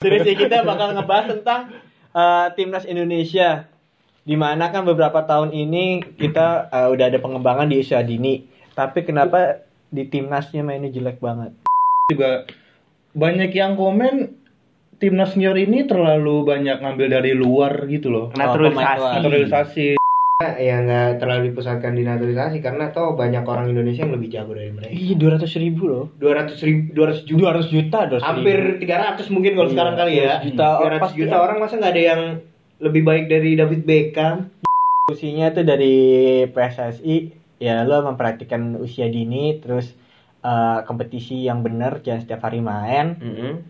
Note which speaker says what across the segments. Speaker 1: Jadi kita bakal ngebahas tentang eh, timnas Indonesia. Dimana kan beberapa tahun ini kita eh, udah ada pengembangan di usia dini. Tapi kenapa di timnasnya mainnya jelek banget?
Speaker 2: juga banyak yang komen timnas senior ini terlalu banyak ngambil dari luar gitu loh.
Speaker 3: naturalisasi
Speaker 1: pemain
Speaker 2: Naturalisasi.
Speaker 4: ya nggak terlalu dipusatkan di naturalisasi karena toh banyak orang Indonesia yang lebih jago dari mereka
Speaker 1: Ih, 200 Iya, ribu loh.
Speaker 4: 200 ribu 200 juta
Speaker 1: 200 juta, 200 ribu.
Speaker 4: hampir 300 mungkin kalau
Speaker 1: Iya,
Speaker 4: sekarang kali ya
Speaker 1: 200 juta orang
Speaker 4: 200
Speaker 1: pasti
Speaker 4: juta
Speaker 1: ada.
Speaker 4: orang masa nggak ada yang lebih baik dari David Beckham
Speaker 1: Usianya tuh dari PSSI ya lo mempraktikkan usia dini terus eh, kompetisi yang benar jangan setiap hari main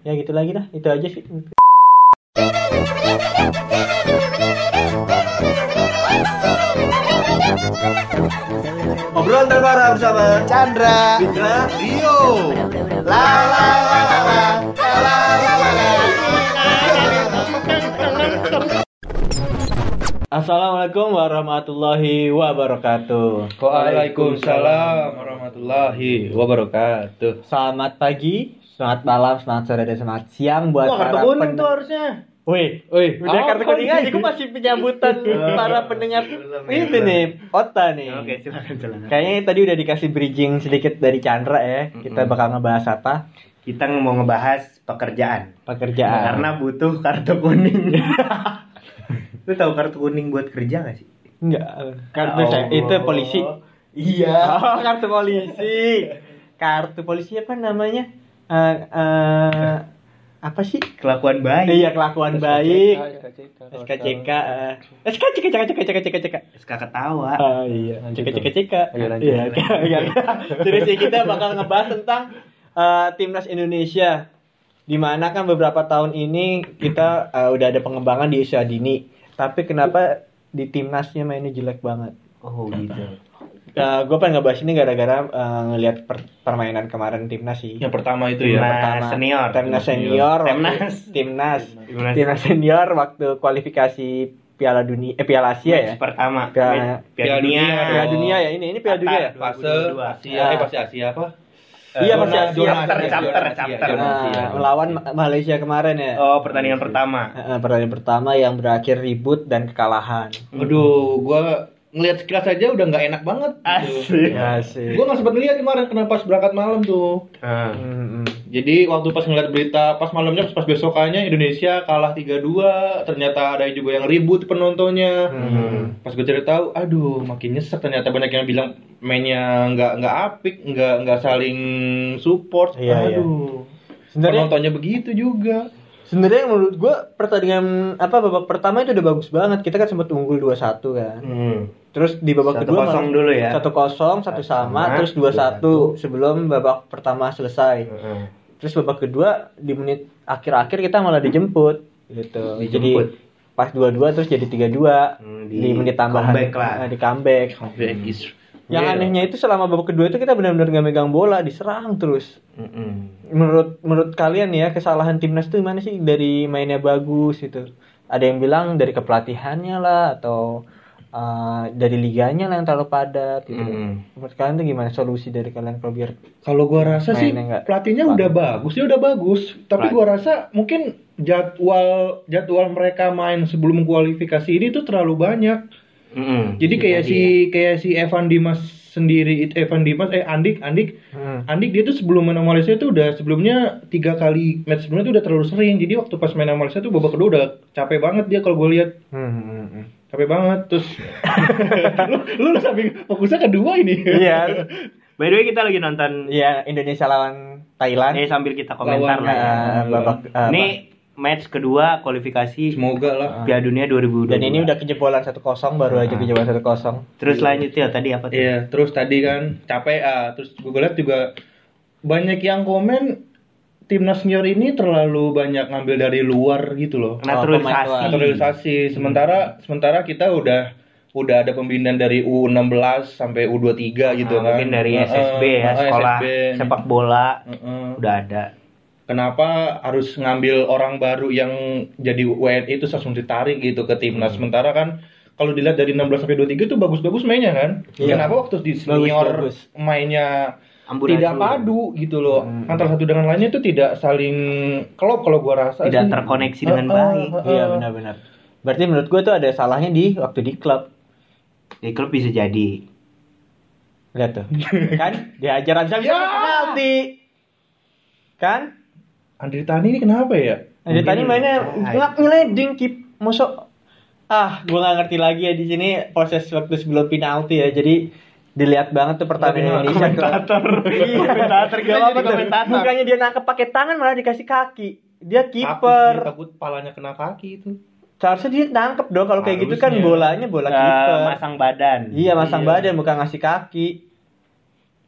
Speaker 1: ya gitu lagi dah itu aja sih
Speaker 4: obrolan terbaru bersama Chandra Fitra Rio la la la la la la la la
Speaker 1: Assalamualaikum warahmatullahi wabarakatuh
Speaker 2: Waalaikumsalam warahmatullahi wabarakatuh.
Speaker 1: Selamat pagi, selamat malam, selamat sore, dan selamat siang buat
Speaker 4: Wah, kartu
Speaker 1: para
Speaker 4: kuning
Speaker 1: pen-
Speaker 4: tuh harusnya.
Speaker 1: Wih,
Speaker 2: Oi,
Speaker 1: udah kartu kuning aja, gue masih penyambutan para pendengar ini nih, Ota nih.
Speaker 4: Iya. silakan silakan.
Speaker 1: Kayaknya tadi udah dikasih bridging sedikit dari Chandra ya. Kita bakal ngebahas apa?
Speaker 4: Kita mau ngebahas pekerjaan.
Speaker 1: Pekerjaan.
Speaker 4: Karena butuh kartu kuning. Lu tahu kartu kuning buat kerja gak sih?
Speaker 1: enggak kartu
Speaker 4: Ya
Speaker 1: saya- itu
Speaker 4: Allah.
Speaker 1: polisi.
Speaker 4: Iya.
Speaker 1: Oh, kartu polisi. kartu polisi apa namanya? Eh, eh, apa sih?
Speaker 4: Kelakuan baik.
Speaker 1: Iya kelakuan baik. SKCK. eh. SKCK, SKCK, SKCK, SKCK.
Speaker 4: SK ketawa.
Speaker 1: Ah iya,
Speaker 3: Lanjut
Speaker 1: cek
Speaker 3: dong.
Speaker 1: cek cek.
Speaker 3: Ayo, lanjut.
Speaker 1: Iya, iya. Jadi sih kita bakal ngebahas tentang eh, timnas Indonesia. Dimana kan beberapa tahun ini kita eh, udah ada pengembangan di usia dini. Tapi kenapa di timnasnya mainnya jelek banget?
Speaker 4: Oh gitu.
Speaker 1: gue pengen ngebahas ini gara-gara eh, ngelihat per- permainan kemarin timnas sih.
Speaker 2: Yang pertama itu ya.
Speaker 4: Timnas senior.
Speaker 1: Timnas senior.
Speaker 4: Timnas.
Speaker 1: Timnas.
Speaker 4: Timnas.
Speaker 1: Timnas senior waktu kualifikasi Piala Dunia, eh Piala Asia ya.
Speaker 4: Pertama.
Speaker 1: Piala-
Speaker 2: Piala dunia.
Speaker 1: Piala Dunia ya ini, ini Piala Dunia ya.
Speaker 2: Fase
Speaker 4: 2022.
Speaker 2: Asia, eh fase Asia apa?
Speaker 1: Iya,
Speaker 2: zona-
Speaker 1: fase Asia.
Speaker 2: zona
Speaker 4: Chapter,
Speaker 2: zona
Speaker 4: chapter,
Speaker 2: Asia,
Speaker 4: chapter. Iya.
Speaker 2: zona
Speaker 1: Nah,
Speaker 2: Asia.
Speaker 1: melawan Ma- Malaysia kemarin ya.
Speaker 4: Oh pertandingan pertama.
Speaker 1: Eh, eh, pertandingan pertama yang berakhir ribut dan kekalahan.
Speaker 2: Aduh, gua ngelihat sekilas aja udah nggak enak banget.
Speaker 4: Asik.
Speaker 1: Ya sih.
Speaker 2: Gua nggak sempat ngeliat kemarin kenapa pas berangkat malam tuh.
Speaker 4: Hmm.
Speaker 2: Jadi waktu pas ngeliat berita pas malamnya pas besokannya Indonesia kalah 3-2 ternyata ada juga yang ribut penontonnya.
Speaker 4: Hmm.
Speaker 1: Hmm.
Speaker 2: Pas gue cari tahu, aduh makin nyesek ternyata banyak yang bilang mainnya nggak nggak apik, nggak nggak saling support.
Speaker 1: Iya,
Speaker 2: aduh.
Speaker 1: Sebenarnya
Speaker 2: Penontonnya begitu juga.
Speaker 1: sebenarnya menurut gua pertandingan apa babak pertama itu udah bagus banget. Kita kan sempat unggul 2-1 kan.
Speaker 4: Hmm.
Speaker 1: Terus di babak kedua
Speaker 4: 1-0 dulu ya.
Speaker 1: Satu kosong, satu sama,
Speaker 4: sama,
Speaker 1: terus dua satu sebelum babak pertama selesai.
Speaker 4: Heeh.
Speaker 1: Terus babak kedua di menit akhir-akhir kita malah dijemput gitu.
Speaker 4: Dijemput.
Speaker 1: Jadi pas dua-dua terus jadi tiga-dua
Speaker 4: Hmm,
Speaker 1: di,
Speaker 4: di
Speaker 1: menit tambahan
Speaker 4: comeback lah.
Speaker 1: Eh, di comeback.
Speaker 2: Hmm.
Speaker 1: Yang
Speaker 4: Iya.
Speaker 1: anehnya itu selama babak kedua itu kita benar-benar nggak megang bola, diserang terus.
Speaker 4: Mm-mm.
Speaker 1: Menurut menurut kalian ya kesalahan timnas itu gimana sih dari mainnya bagus itu? Ada yang bilang dari kepelatihannya lah atau eh, dari liganya lah yang terlalu padat gitu.
Speaker 4: Mm-mm.
Speaker 1: Menurut kalian tuh gimana solusi dari kalian kalau biar
Speaker 2: Kalau gua rasa sih
Speaker 1: Mainnya nggak-
Speaker 2: pelatihnya udah bagus, dia udah bagus. Tapi
Speaker 4: Pelat-
Speaker 2: gua rasa mungkin jadwal jadwal mereka main sebelum kualifikasi ini tuh terlalu banyak.
Speaker 4: Mm-mm.
Speaker 2: Jadi
Speaker 1: Iya
Speaker 2: kayak si kayak si Evan Dimas sendiri it- Evan Dimas eh Andik Andik
Speaker 4: Hmm.
Speaker 2: Andik dia tuh sebelum main sama Malaysia tuh udah sebelumnya tiga kali match sebelumnya tuh udah terlalu sering. Jadi waktu pas main sama Malaysia tuh babak kedua udah capek banget dia kalau gue lihat capek banget terus lu lu udah sambil fokusnya kedua ini
Speaker 1: Iya,
Speaker 4: By the way kita lagi nonton
Speaker 1: iya Indonesia lawan Thailand.
Speaker 4: eh sambil kita komentar
Speaker 2: Lawan,
Speaker 4: lah ya.
Speaker 1: Eh, babak eh,
Speaker 4: Ini match kedua kualifikasi
Speaker 2: semoga lah
Speaker 4: Piala Dunia 2022.
Speaker 1: dan ini udah Iya. kejebolan 1-0 baru aja kejebolan 1-0.
Speaker 4: terus lanjutnya tadi apa tuh?
Speaker 2: Iya, terus tadi kan capek ah, terus gue lihat juga banyak yang komen timnas senior ini terlalu banyak ngambil dari luar gitu
Speaker 1: Oh,
Speaker 2: loh.
Speaker 1: pemain luar.
Speaker 4: Naturalisasi. Hmm.
Speaker 2: Naturalisasi. Sementara sementara kita udah udah ada pembinaan dari U16 sampai U23 gitu
Speaker 4: Nah,
Speaker 2: kan.
Speaker 4: mungkin dari
Speaker 1: Ah,
Speaker 2: Heeh,
Speaker 1: Oh,
Speaker 4: SSB ya,
Speaker 2: heeh,
Speaker 4: sekolah
Speaker 2: SSB.
Speaker 4: sepak bola
Speaker 1: Hmm.
Speaker 2: Heeh.
Speaker 4: udah ada.
Speaker 2: Kenapa harus ngambil orang baru yang jadi WNI itu langsung ditarik gitu ke
Speaker 4: Hmm.
Speaker 2: timnas. Sementara kan kalau dilihat dari 16 sampai 23 itu bagus-bagus mainnya kan.
Speaker 1: Iya.
Speaker 2: Kenapa waktu di senior
Speaker 1: Bagus-bagus.
Speaker 2: mainnya
Speaker 4: amburadul.
Speaker 5: tidak padu gitu loh
Speaker 1: Hmm.
Speaker 5: antara satu dengan lainnya itu tidak saling kelop kalau gua rasa
Speaker 4: Tidak
Speaker 5: sih.
Speaker 4: terkoneksi dengan
Speaker 5: Heeh,
Speaker 4: baik.
Speaker 5: heeh.
Speaker 1: Iya benar-benar. Berarti menurut gue tuh ada salahnya di waktu di klub.
Speaker 4: Di klub bisa jadi.
Speaker 1: Lihat tuh. kan? Diajar bisa bisa
Speaker 5: Ya!
Speaker 1: penalti. Kan?
Speaker 5: Andri Tani ini kenapa ya
Speaker 1: Ada tadi
Speaker 4: Mungkin-
Speaker 1: mainnya
Speaker 4: Ay.
Speaker 1: ngap ngeleding kip. Mosok ah, gua nggak ngerti lagi ya di sini proses waktu sebelum penalti ya. Jadi dilihat banget tuh pertandingan Indonesia. Komentator. Iya, komentator
Speaker 5: Kita jadi komentator.
Speaker 1: Bukannya dia nangkep pakai tangan malah dikasih kaki. Dia
Speaker 5: Takut sih,
Speaker 2: gitu.
Speaker 1: kiper.
Speaker 5: takut palanya kena kaki itu
Speaker 1: Seharusnya dia nangkep dong kalau kayak gitu kan
Speaker 5: Harusnya.
Speaker 1: bolanya bola
Speaker 4: Eh,
Speaker 1: kiper.
Speaker 4: masang badan.
Speaker 1: Iya,
Speaker 5: Iya.
Speaker 1: masang badan bukan ngasih kaki.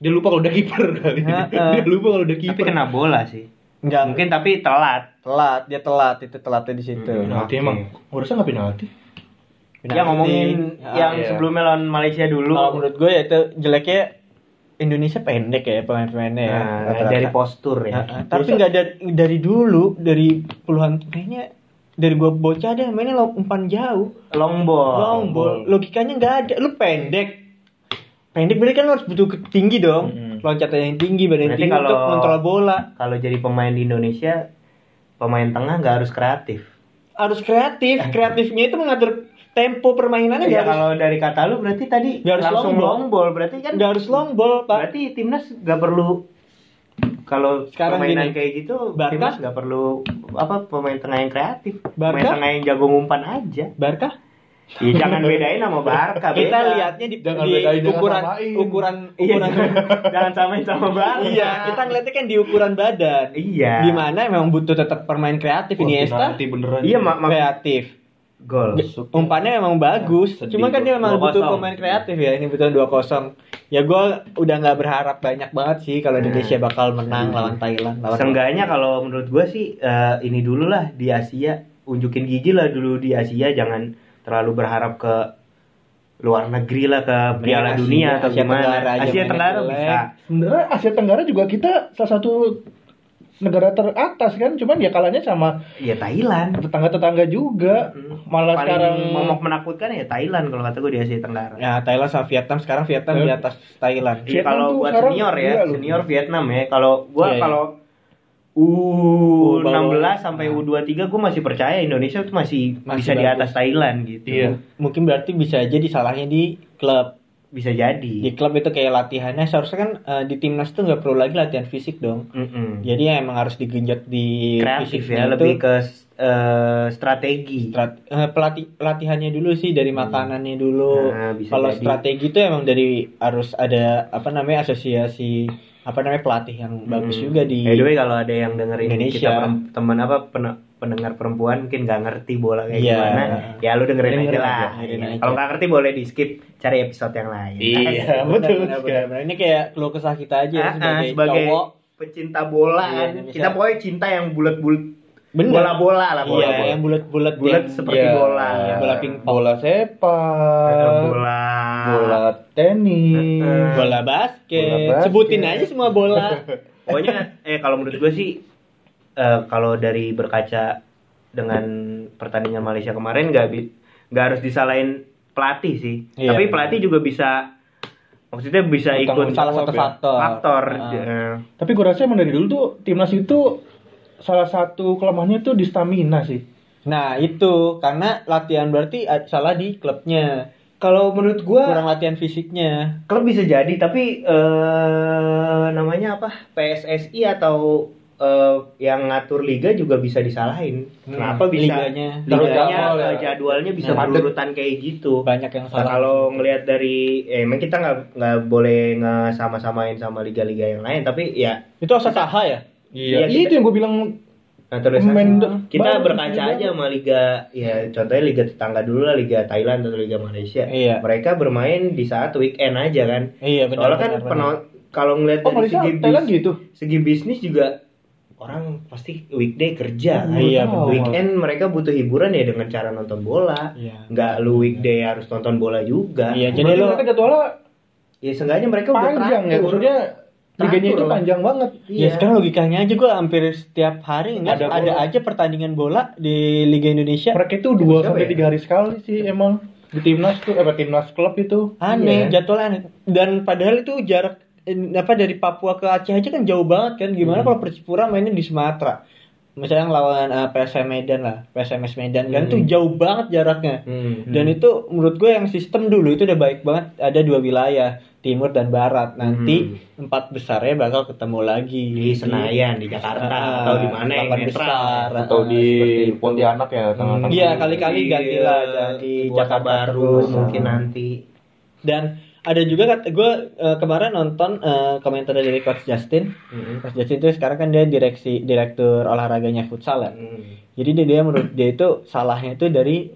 Speaker 5: dia lupa kalau udah kiper kali
Speaker 1: Heeh.
Speaker 5: dia lupa kalau udah
Speaker 4: Tapi
Speaker 5: kiper
Speaker 4: kena bola sih.
Speaker 1: Enggak, mungkin
Speaker 4: Mungkin tapi telat.
Speaker 1: telat, dia telat, itu telatnya di situ.
Speaker 2: Hmm.
Speaker 1: Nah,
Speaker 4: Mm-mm.
Speaker 5: penalti emang gua rasa nggak penalti
Speaker 1: Penalti.
Speaker 4: Ya ngomongin
Speaker 1: Ah,
Speaker 4: yang
Speaker 5: iya.
Speaker 4: sebelumnya lawan Malaysia dulu.
Speaker 1: Kalau menurut gue ya itu jeleknya Indonesia pendek ya pemain-pemainnya ya.
Speaker 4: Nah,
Speaker 1: rata-rata.
Speaker 4: dari postur ya.
Speaker 1: Nah, nah, tapi nggak dari, dari dulu dari puluhan kayaknya dari gua bocah deh mainnya lo umpan jauh,
Speaker 4: Long ball.
Speaker 1: long ball. Logikanya nggak ada. Lu pendek. Pendek berarti kan lu harus butuh ke- tinggi dong.
Speaker 5: Mm-mm.
Speaker 1: Loncatnya yang tinggi, badan yang
Speaker 4: Berarti
Speaker 1: tinggi
Speaker 4: kalau-
Speaker 1: untuk kontrol bola.
Speaker 4: Kalau jadi pemain di Indonesia, pemain tengah nggak harus kreatif.
Speaker 1: Harus kreatif. Kreatifnya itu mengatur tempo permainannya nggak
Speaker 4: Ya
Speaker 1: harus
Speaker 4: kalau dari kata lu berarti tadi
Speaker 1: Nggak harus
Speaker 4: langsung
Speaker 1: long ball.
Speaker 4: long ball. berarti kan
Speaker 1: nggak harus long ball, Pak.
Speaker 4: berarti timnas nggak perlu kalau
Speaker 1: Sekarang
Speaker 4: permainan
Speaker 1: gini,
Speaker 4: kayak gitu
Speaker 1: Barca-
Speaker 4: timnas nggak perlu apa pemain tengah yang kreatif, pemain
Speaker 1: Barca-
Speaker 4: tengah yang jago ngumpan aja.
Speaker 1: Barkah
Speaker 4: Ya, jangan bedain sama
Speaker 1: kita
Speaker 4: Barca. beda.
Speaker 1: lihatnya di,
Speaker 5: Jangan
Speaker 1: di
Speaker 5: bedain, jangan
Speaker 1: ukuran,
Speaker 5: samain.
Speaker 1: ukuran
Speaker 4: Iya,
Speaker 1: ukuran
Speaker 4: jangan samain sama Barca.
Speaker 1: iya kita ngeliatnya kan di ukuran badan
Speaker 4: Iya.
Speaker 1: di mana memang butuh tetap permain kreatif
Speaker 5: Wah,
Speaker 1: Iniesta
Speaker 5: penalti beneran
Speaker 4: Iya, mak mak
Speaker 1: kreatif
Speaker 4: gol.
Speaker 1: umpannya memang bagus
Speaker 5: Sedih
Speaker 1: cuma kan
Speaker 5: gua.
Speaker 1: dia memang butuh
Speaker 4: 2-0.
Speaker 1: pemain kreatif ya ini betul 2-0 ya gue udah nggak berharap banyak banget sih kalau
Speaker 4: Hmm.
Speaker 1: Indonesia bakal menang lawan Thailand lawan
Speaker 4: Seenggaknya kalau menurut gua sih eh, ini dulu lah di Asia unjukin gigi lah dulu di Asia jangan terlalu berharap ke luar negeri lah ke Piala
Speaker 1: Asia,
Speaker 4: Dunia atau
Speaker 1: Asia
Speaker 4: gimana
Speaker 1: Tenggara aja
Speaker 4: Asia
Speaker 1: mainnya
Speaker 4: Tenggara
Speaker 1: jelek.
Speaker 4: bisa
Speaker 5: sebenarnya Asia Tenggara juga kita salah satu negara teratas kan cuman ya kalahnya sama
Speaker 4: ya Thailand
Speaker 5: tetangga-tetangga juga
Speaker 4: Hmm.
Speaker 5: malah
Speaker 4: paling
Speaker 5: sekarang
Speaker 4: momok menakutkan ya Thailand kalau kata gua di Asia Tenggara
Speaker 1: ya Thailand sama Vietnam sekarang Vietnam
Speaker 5: Eh.
Speaker 1: di atas Thailand
Speaker 4: Hmm. Iya,
Speaker 5: Vietnam
Speaker 4: kalau
Speaker 5: tuh
Speaker 4: buat
Speaker 5: sekarang
Speaker 4: senior ya
Speaker 5: gila loh.
Speaker 4: senior Vietnam ya kalau gua
Speaker 1: Iya, iya.
Speaker 4: kalau U16
Speaker 1: bawah.
Speaker 4: sampai U23 gua masih percaya Indonesia tuh masih,
Speaker 1: Masih
Speaker 4: bisa di
Speaker 1: bagus.
Speaker 4: atas Thailand gitu
Speaker 5: Iya.
Speaker 1: mungkin berarti bisa jadi salahnya di klub
Speaker 4: bisa jadi
Speaker 1: di klub itu kayak latihannya seharusnya kan eh, di timnas tuh nggak perlu lagi latihan fisik dong
Speaker 4: Mm-mm.
Speaker 1: jadi ya emang harus digenjot di
Speaker 4: kreatif
Speaker 1: fisiknya
Speaker 4: ya
Speaker 1: iya, itu.
Speaker 4: lebih ke eh, strategi
Speaker 1: Strat- eh, pelati- pelatihannya dulu sih dari
Speaker 4: Hmm.
Speaker 1: makanannya dulu
Speaker 4: Nah, bisa
Speaker 1: Oh, kalau
Speaker 4: jadi.
Speaker 1: strategi itu emang dari harus ada apa namanya asosiasi apa namanya pelatih yang bagus
Speaker 4: Hmm.
Speaker 1: juga di
Speaker 4: by the way kalau ada yang dengerin
Speaker 1: Indonesia.
Speaker 4: kita perem- teman apa pen- pendengar perempuan mungkin nggak ngerti bola kayak
Speaker 1: Iya.
Speaker 4: gimana ya lu dengerin,
Speaker 1: Dengerin
Speaker 4: aja lah
Speaker 1: aja, dengerin
Speaker 4: Iya.
Speaker 1: aja.
Speaker 4: kalau nggak ngerti boleh di skip cari episode yang lain
Speaker 5: iya
Speaker 1: Benar,
Speaker 5: betul
Speaker 1: benar,
Speaker 5: sekali.
Speaker 1: benar. ini kayak keluh kesah kita aja
Speaker 4: Ah, ah,
Speaker 1: sebagai,
Speaker 4: sebagai
Speaker 1: cowok
Speaker 4: pecinta
Speaker 1: Iya,
Speaker 4: bola kan.
Speaker 1: Indonesia.
Speaker 4: kita pokoknya cinta yang bulat-bulat
Speaker 1: Bener.
Speaker 4: bola-bola lah bola,
Speaker 1: iya yang bulat-bulat
Speaker 4: bulat
Speaker 1: yang-
Speaker 4: seperti
Speaker 5: iya,
Speaker 4: bola
Speaker 1: iya, bola pingpong.
Speaker 5: bola sepak
Speaker 4: bola
Speaker 5: bola tenis
Speaker 4: Heeh.
Speaker 1: bola basket.
Speaker 5: Bola basket.
Speaker 1: sebutin aja semua bola
Speaker 4: Pokoknya eh kalau menurut gue sih eh, kalau dari berkaca dengan pertandingan Malaysia kemarin nggak bi- nggak harus disalahin pelatih sih.
Speaker 1: Iya.
Speaker 4: Tapi pelatih juga bisa maksudnya bisa ikut ya?
Speaker 5: Bertanggung
Speaker 1: salah satu faktor
Speaker 4: faktor.
Speaker 1: Ah.
Speaker 4: Eh,
Speaker 5: tapi gue rasa emang dari dulu tuh timnas itu salah satu kelemahannya tuh di stamina sih
Speaker 1: Nah itu karena latihan berarti ad- salah di klubnya
Speaker 4: Kalau menurut gue
Speaker 1: kurang latihan fisiknya.
Speaker 4: klub bisa jadi tapi eh namanya apa PSSI atau eh, yang ngatur liga juga bisa disalahin.
Speaker 1: Hmm,
Speaker 4: Kenapa bisa?
Speaker 1: liganya.
Speaker 4: Liganya,
Speaker 5: Jadwal ya.
Speaker 4: eh, jadwalnya bisa
Speaker 1: Nah,
Speaker 5: padet.
Speaker 4: berurutan kayak gitu.
Speaker 1: Banyak yang
Speaker 4: Nah,
Speaker 1: salah.
Speaker 4: kalau ngelihat dari eh, emang kita nggak nggak boleh ngesama-samain sama liga-liga yang lain tapi ya
Speaker 1: itu asal saha ya?
Speaker 4: Iya,
Speaker 5: Iya,
Speaker 4: kita-
Speaker 5: itu yang gue bilang
Speaker 4: naturalisasi.
Speaker 5: Pemain-
Speaker 4: kita
Speaker 5: baru-
Speaker 4: berkaca aja sama liga ya contohnya liga tetangga dulu lah liga Thailand atau liga Malaysia
Speaker 1: Iya.
Speaker 4: mereka bermain di saat weekend aja kan
Speaker 1: Iya benar.
Speaker 4: soalnya kan
Speaker 1: benar, benar.
Speaker 4: peno- kalau ngelihat
Speaker 5: oh
Speaker 4: dari
Speaker 5: Malaysia
Speaker 4: segi,
Speaker 5: Thailand
Speaker 4: bis-
Speaker 5: gitu
Speaker 4: segi bisnis juga orang pasti weekday kerja kan
Speaker 1: Iya,
Speaker 5: Tahu.
Speaker 4: weekend mereka butuh hiburan ya dengan cara nonton bola
Speaker 1: Iya.
Speaker 4: nggak lu weekday harus nonton bola juga
Speaker 1: Iya, jadi
Speaker 5: jadi
Speaker 1: lo
Speaker 5: mereka jadwalnya
Speaker 4: ya seenggaknya mereka udah iya.
Speaker 5: panjang ya
Speaker 4: teratur.
Speaker 5: maksudnya liganya
Speaker 4: Teratur
Speaker 5: itu
Speaker 4: lah.
Speaker 5: panjang banget
Speaker 1: Ya sekarang logikanya aja gua hampir setiap hari ngeliat
Speaker 5: Ada
Speaker 1: ada,
Speaker 5: bola.
Speaker 1: aja pertandingan bola di Liga
Speaker 2: Ya.
Speaker 1: Indonesia.
Speaker 5: mereka itu dua
Speaker 4: Siapa
Speaker 5: sampai
Speaker 4: ya?
Speaker 5: tiga hari sekali sih emang di timnas tuh eh timnas klub itu
Speaker 1: Aneh,
Speaker 5: Iya.
Speaker 1: jadwalnya aneh. Dan padahal itu jarak eh, apa dari Papua ke Aceh aja kan jauh banget kan. Gimana
Speaker 4: Hmm.
Speaker 1: kalau Persipura mainnya di Sumatera? Misalnya ngelawan eh, PSM Medan lah, PSMS Medan kan
Speaker 4: Hmm.
Speaker 1: tuh jauh banget jaraknya.
Speaker 4: Hmm.
Speaker 1: Dan itu menurut gue yang sistem dulu itu udah baik banget ada dua wilayah timur dan barat nanti empat besarnya bakal ketemu lagi
Speaker 4: Hmm. di Senayan di Jakarta
Speaker 1: Ah,
Speaker 4: atau di mana yang
Speaker 1: lapan
Speaker 4: netral Hmm.
Speaker 1: besar
Speaker 2: atau
Speaker 1: ah,
Speaker 2: di
Speaker 1: seperti itu.
Speaker 2: Pontianak
Speaker 5: Hmm.
Speaker 2: ya tengah-tengah.
Speaker 1: Iya, kali-kali ganti lah, jadi
Speaker 4: di
Speaker 1: Jakarta
Speaker 4: Jakarta
Speaker 1: terus.
Speaker 4: baru mungkin nanti
Speaker 1: dan ada juga kata gue eh, kemarin nonton eh, komentar dari coach Justin coach Justin itu sekarang kan dia direksi direktur olahraganya futsal ya
Speaker 4: Hmm.
Speaker 1: jadi dia, dia menurut dia itu salahnya itu dari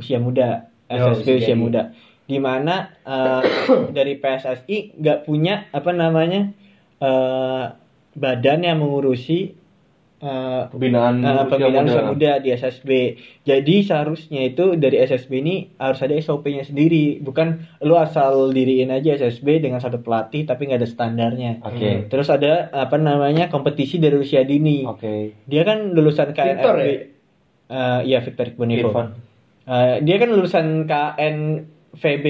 Speaker 1: usia muda
Speaker 4: Oh,
Speaker 1: SSB usia
Speaker 4: usia muda.
Speaker 1: muda dimana dari PSSI nggak punya apa namanya eh, badan yang mengurusi eh,
Speaker 2: pembinaan
Speaker 5: Ah,
Speaker 1: Nah,
Speaker 2: usia
Speaker 1: pembinaan
Speaker 2: muda.
Speaker 1: usia muda di SSB. Jadi seharusnya itu dari SSB ini harus ada SOP-nya sendiri, bukan lu asal diriin aja SSB dengan satu pelatih tapi nggak ada standarnya.
Speaker 2: Oke.
Speaker 5: Hmm.
Speaker 1: Terus ada apa namanya kompetisi dari usia dini.
Speaker 2: Oke.
Speaker 1: Dia kan lulusan KNRB.
Speaker 5: Victor ya?
Speaker 1: Eh, iya Victor Iqbonivo.
Speaker 2: Irfan.
Speaker 1: Eh, dia kan lulusan KNVB